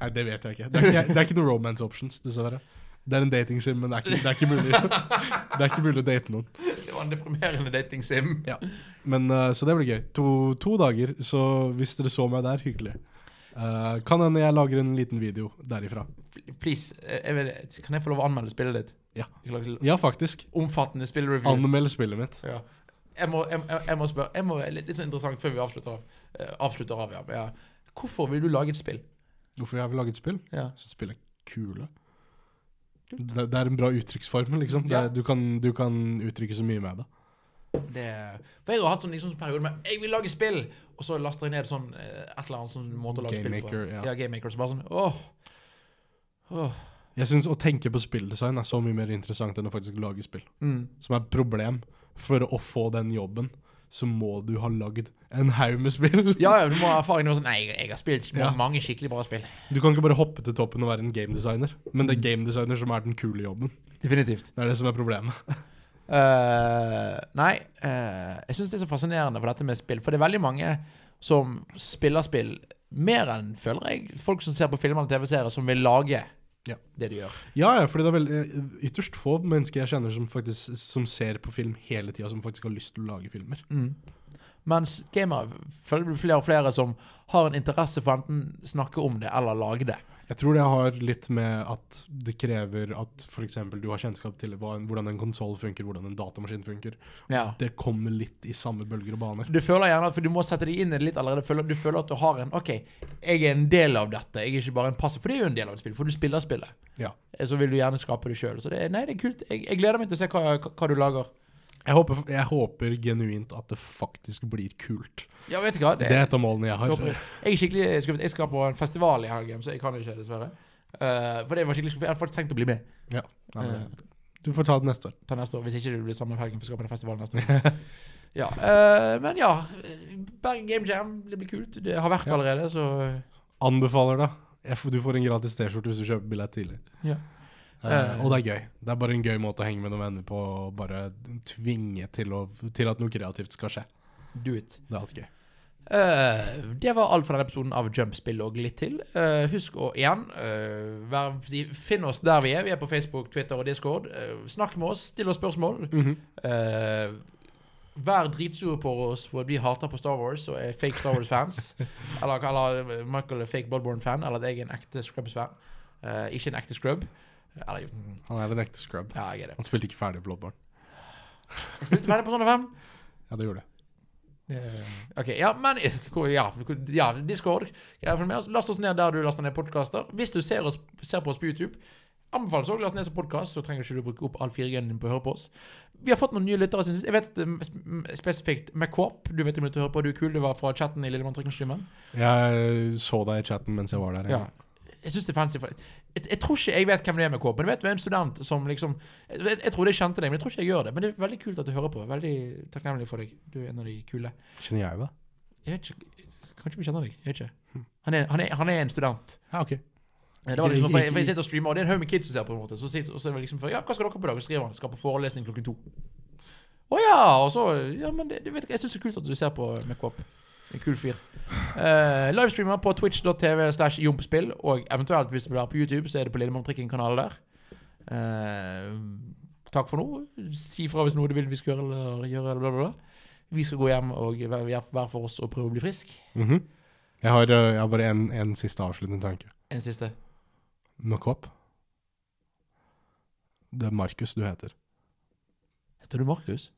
[SPEAKER 2] Nei, det vet jeg ikke. Det er ikke, det er ikke noen romance options, dessverre. Det er en datingsim, men det er, ikke, det, er ikke mulig. det er ikke mulig å date noen.
[SPEAKER 1] det var en deprimerende datingsim.
[SPEAKER 2] Men, eh, så det blir gøy. To, to dager, så hvis dere så meg der, hyggelig. Eh, kan hende jeg lager en liten video derifra.
[SPEAKER 1] Pl- Please, eh, jeg vil, kan jeg få lov å anmelde spillet ditt?
[SPEAKER 2] Ja.
[SPEAKER 1] Jeg lager til
[SPEAKER 2] Ja, faktisk.
[SPEAKER 1] Omfattende spillreview.
[SPEAKER 2] Anmeld spillet mitt.
[SPEAKER 1] Ja. Jeg må, jeg, jeg jeg må spørre jeg må, Litt litt sånn interessant før vi avslutter av. eh, avslutter av ja. men ja. Hvorfor vil du lage et spill?
[SPEAKER 2] Hvorfor jeg har laget spill?
[SPEAKER 1] Ja.
[SPEAKER 2] Så spill er kule. Det, det er en bra uttrykksform, liksom. Det,
[SPEAKER 1] Ja.
[SPEAKER 2] er- du, kan, du kan uttrykke så mye med det.
[SPEAKER 1] Det, for jeg har hatt sånn liksom, sånn periode med Jeg vil lage spill! Og så laster jeg ned sånn eh, et eller annet sånn måte å lage spill
[SPEAKER 2] Gamemaker,
[SPEAKER 1] på.
[SPEAKER 2] ja.
[SPEAKER 1] Ja, Gamemaker. Så bare sånn åh, åh.
[SPEAKER 2] Jeg syns å tenke på spilldesign er så mye mer interessant enn å faktisk lage spill.
[SPEAKER 1] Mm.
[SPEAKER 2] Som er et problem. For å få den jobben, så må du ha lagd en haug med spill.
[SPEAKER 1] Ja, ja, du må ha erfaring med sånn Nei, jeg har spilt
[SPEAKER 2] Ja.
[SPEAKER 1] mange skikkelig bra spill.
[SPEAKER 2] Du kan ikke bare hoppe til toppen og være en gamedesigner. Men det er gamedesigner som er den kule jobben.
[SPEAKER 1] Definitivt.
[SPEAKER 2] Det er det som er problemet.
[SPEAKER 1] Eh, nei, eh, jeg syns det er så fascinerende for dette med spill. For det er veldig mange som spiller spill mer enn, føler jeg, folk som ser på filmer eller TV-serier, som vil lage
[SPEAKER 2] Ja.
[SPEAKER 1] det de gjør.
[SPEAKER 2] Ja, ja, fordi det er veldig, eh, ytterst få mennesker jeg kjenner som faktisk som ser på film hele tida, som faktisk har lyst til å lage filmer.
[SPEAKER 1] Mm. Mens gamere føler det blir flere og flere som har en interesse for enten snakke om det eller lage det.
[SPEAKER 2] Jeg tror det har litt med at det krever at f.eks. du har kjennskap til hva, en- hvordan en konsoll funker, hvordan en datamaskin funker.
[SPEAKER 1] Ja.
[SPEAKER 2] Det kommer litt i samme bølger og baner.
[SPEAKER 1] Du føler gjerne at, for du må sette deg inn i det litt allerede. Føler, du føler at du har en OK, jeg er en del av dette. Jeg er ikke bare en passiv. For det er jo en del av et spill, for du spiller spillet.
[SPEAKER 2] Ja.
[SPEAKER 1] Eh, Så vil du gjerne skape det sjøl. Så det, er- nei, det er kult. Jeg, jeg gleder meg til å se hva, hva du lager.
[SPEAKER 2] Jeg håper, jeg håper genuint at det faktisk blir kult.
[SPEAKER 1] Ja, vet du hva?
[SPEAKER 2] Det er et av målene jeg
[SPEAKER 1] jeg,
[SPEAKER 2] har.
[SPEAKER 1] håper- jeg er skikkelig skuffet. Jeg skal på en festival i helgen, så jeg kan ikke, dessverre. Eh, for det var skikkelig skuffet. Jeg hadde faktisk tenkt å bli med
[SPEAKER 2] Nei, men det- Du får ta det neste år.
[SPEAKER 1] til neste år, hvis ikke du blir sammen med helgen for å skape en festival neste år. Ja, eh, men ja. Bergen Game Jam, det blir kult. Det har vært
[SPEAKER 2] Ja.
[SPEAKER 1] allerede, så
[SPEAKER 2] Anbefaler det. Jeg får- Du får en gratis T-skjorte hvis du kjøper billett tidlig.
[SPEAKER 1] Ja.
[SPEAKER 2] Eh,
[SPEAKER 1] Eh.
[SPEAKER 2] og det er gøy. Det er bare en gøy måte å henge med noen venner på. Og bare tvinge til, å, til at noe kreativt skal skje.
[SPEAKER 1] do it.
[SPEAKER 2] Det er alltid gøy.
[SPEAKER 1] Eh, det var alt for denne episoden av Jumpspill og litt til. Eh, husk å igjen eh, vær, si, Finn oss der vi er. Vi er på Facebook, Twitter og Discord. Eh, snakk med oss, still oss spørsmål.
[SPEAKER 2] Mhm.
[SPEAKER 1] Eh, vær dritsure på oss for at vi hater på Star Wars og er fake Star Wars-fans. eller, eller eh, Michael er fake Bloodborne-fan, eller at jeg er en ekte Scrubs-fan. Eh, ikke en ekte Scrub. Eller mm,
[SPEAKER 2] Han er en ekte scrub.
[SPEAKER 1] Ja, jeg er det.
[SPEAKER 2] Han spilte ikke ferdig Bloodborne.
[SPEAKER 1] Spilte ferdig på sånne fem.
[SPEAKER 2] Ja, det gjorde det.
[SPEAKER 1] Eh, Ok, ja, men hvor- ja, hvor- ja, Discord. Ja, følg med oss. Last oss ned der du laster ned podkaster. Hvis du ser, oss, ser på oss på YouTube, anbefales også å laste ned som podkast, så trenger ikke du bruke opp all 4G-en din på å høre på oss. Vi har fått noen nye lyttere siden sist. Jeg vet eh, sp- spesifikt McCorp. Du vet om du hører på, du er kul. Du var fra chatten i Lillemann Trykkenstimen.
[SPEAKER 2] Jeg så deg i chatten mens jeg var der.
[SPEAKER 1] Ja. Jeg syns det er fancy. For, jeg, jeg tror ikke jeg vet hvem det er med Kåp, men du vet du er en student som liksom Jeg, jeg, jeg trodde jeg kjente deg, men jeg tror ikke jeg gjør det. Men det er veldig kult at du hører på. Veldig takknemlig for deg. Du er en av de kule.
[SPEAKER 2] Kjenner jeg det?
[SPEAKER 1] Jeg vet ikke Kanskje vi kjenner deg? Jeg vet ikke. Han er, han er, han er en student.
[SPEAKER 2] Ja, ok.
[SPEAKER 1] Det var liksom,
[SPEAKER 2] Ikke-
[SPEAKER 1] for jeg,
[SPEAKER 2] ikke-
[SPEAKER 1] for jeg sitter og streamer, og det er en haug med kids som ser på. på en måte Så, sitter, og så er det liksom for, Ja, hva skal dere på i dag? Så skriver han. Skal på forelesning klokken to. Å ja! Og så Ja, men det, det vet ikke, jeg syns det er kult at du ser på Makeup. En kul fyr. Eh, livestreamer på twitch.tv slash jompspill, og eventuelt hvis du vil være på YouTube, så er det på Lillemann Trikken-kanalen der. Eh, takk for nå. Si fra hvis noe du vil vi skal gjøre, eller gjøre, eller bla, bla, bla. Vi skal gå hjem og være hver for oss og prøve å bli frisk.
[SPEAKER 2] Mhm. jeg, har, eh, jeg har bare en, en siste avsluttende tanke.
[SPEAKER 1] En siste.
[SPEAKER 2] Makop. Det er Markus du heter.
[SPEAKER 1] Heter du Markus?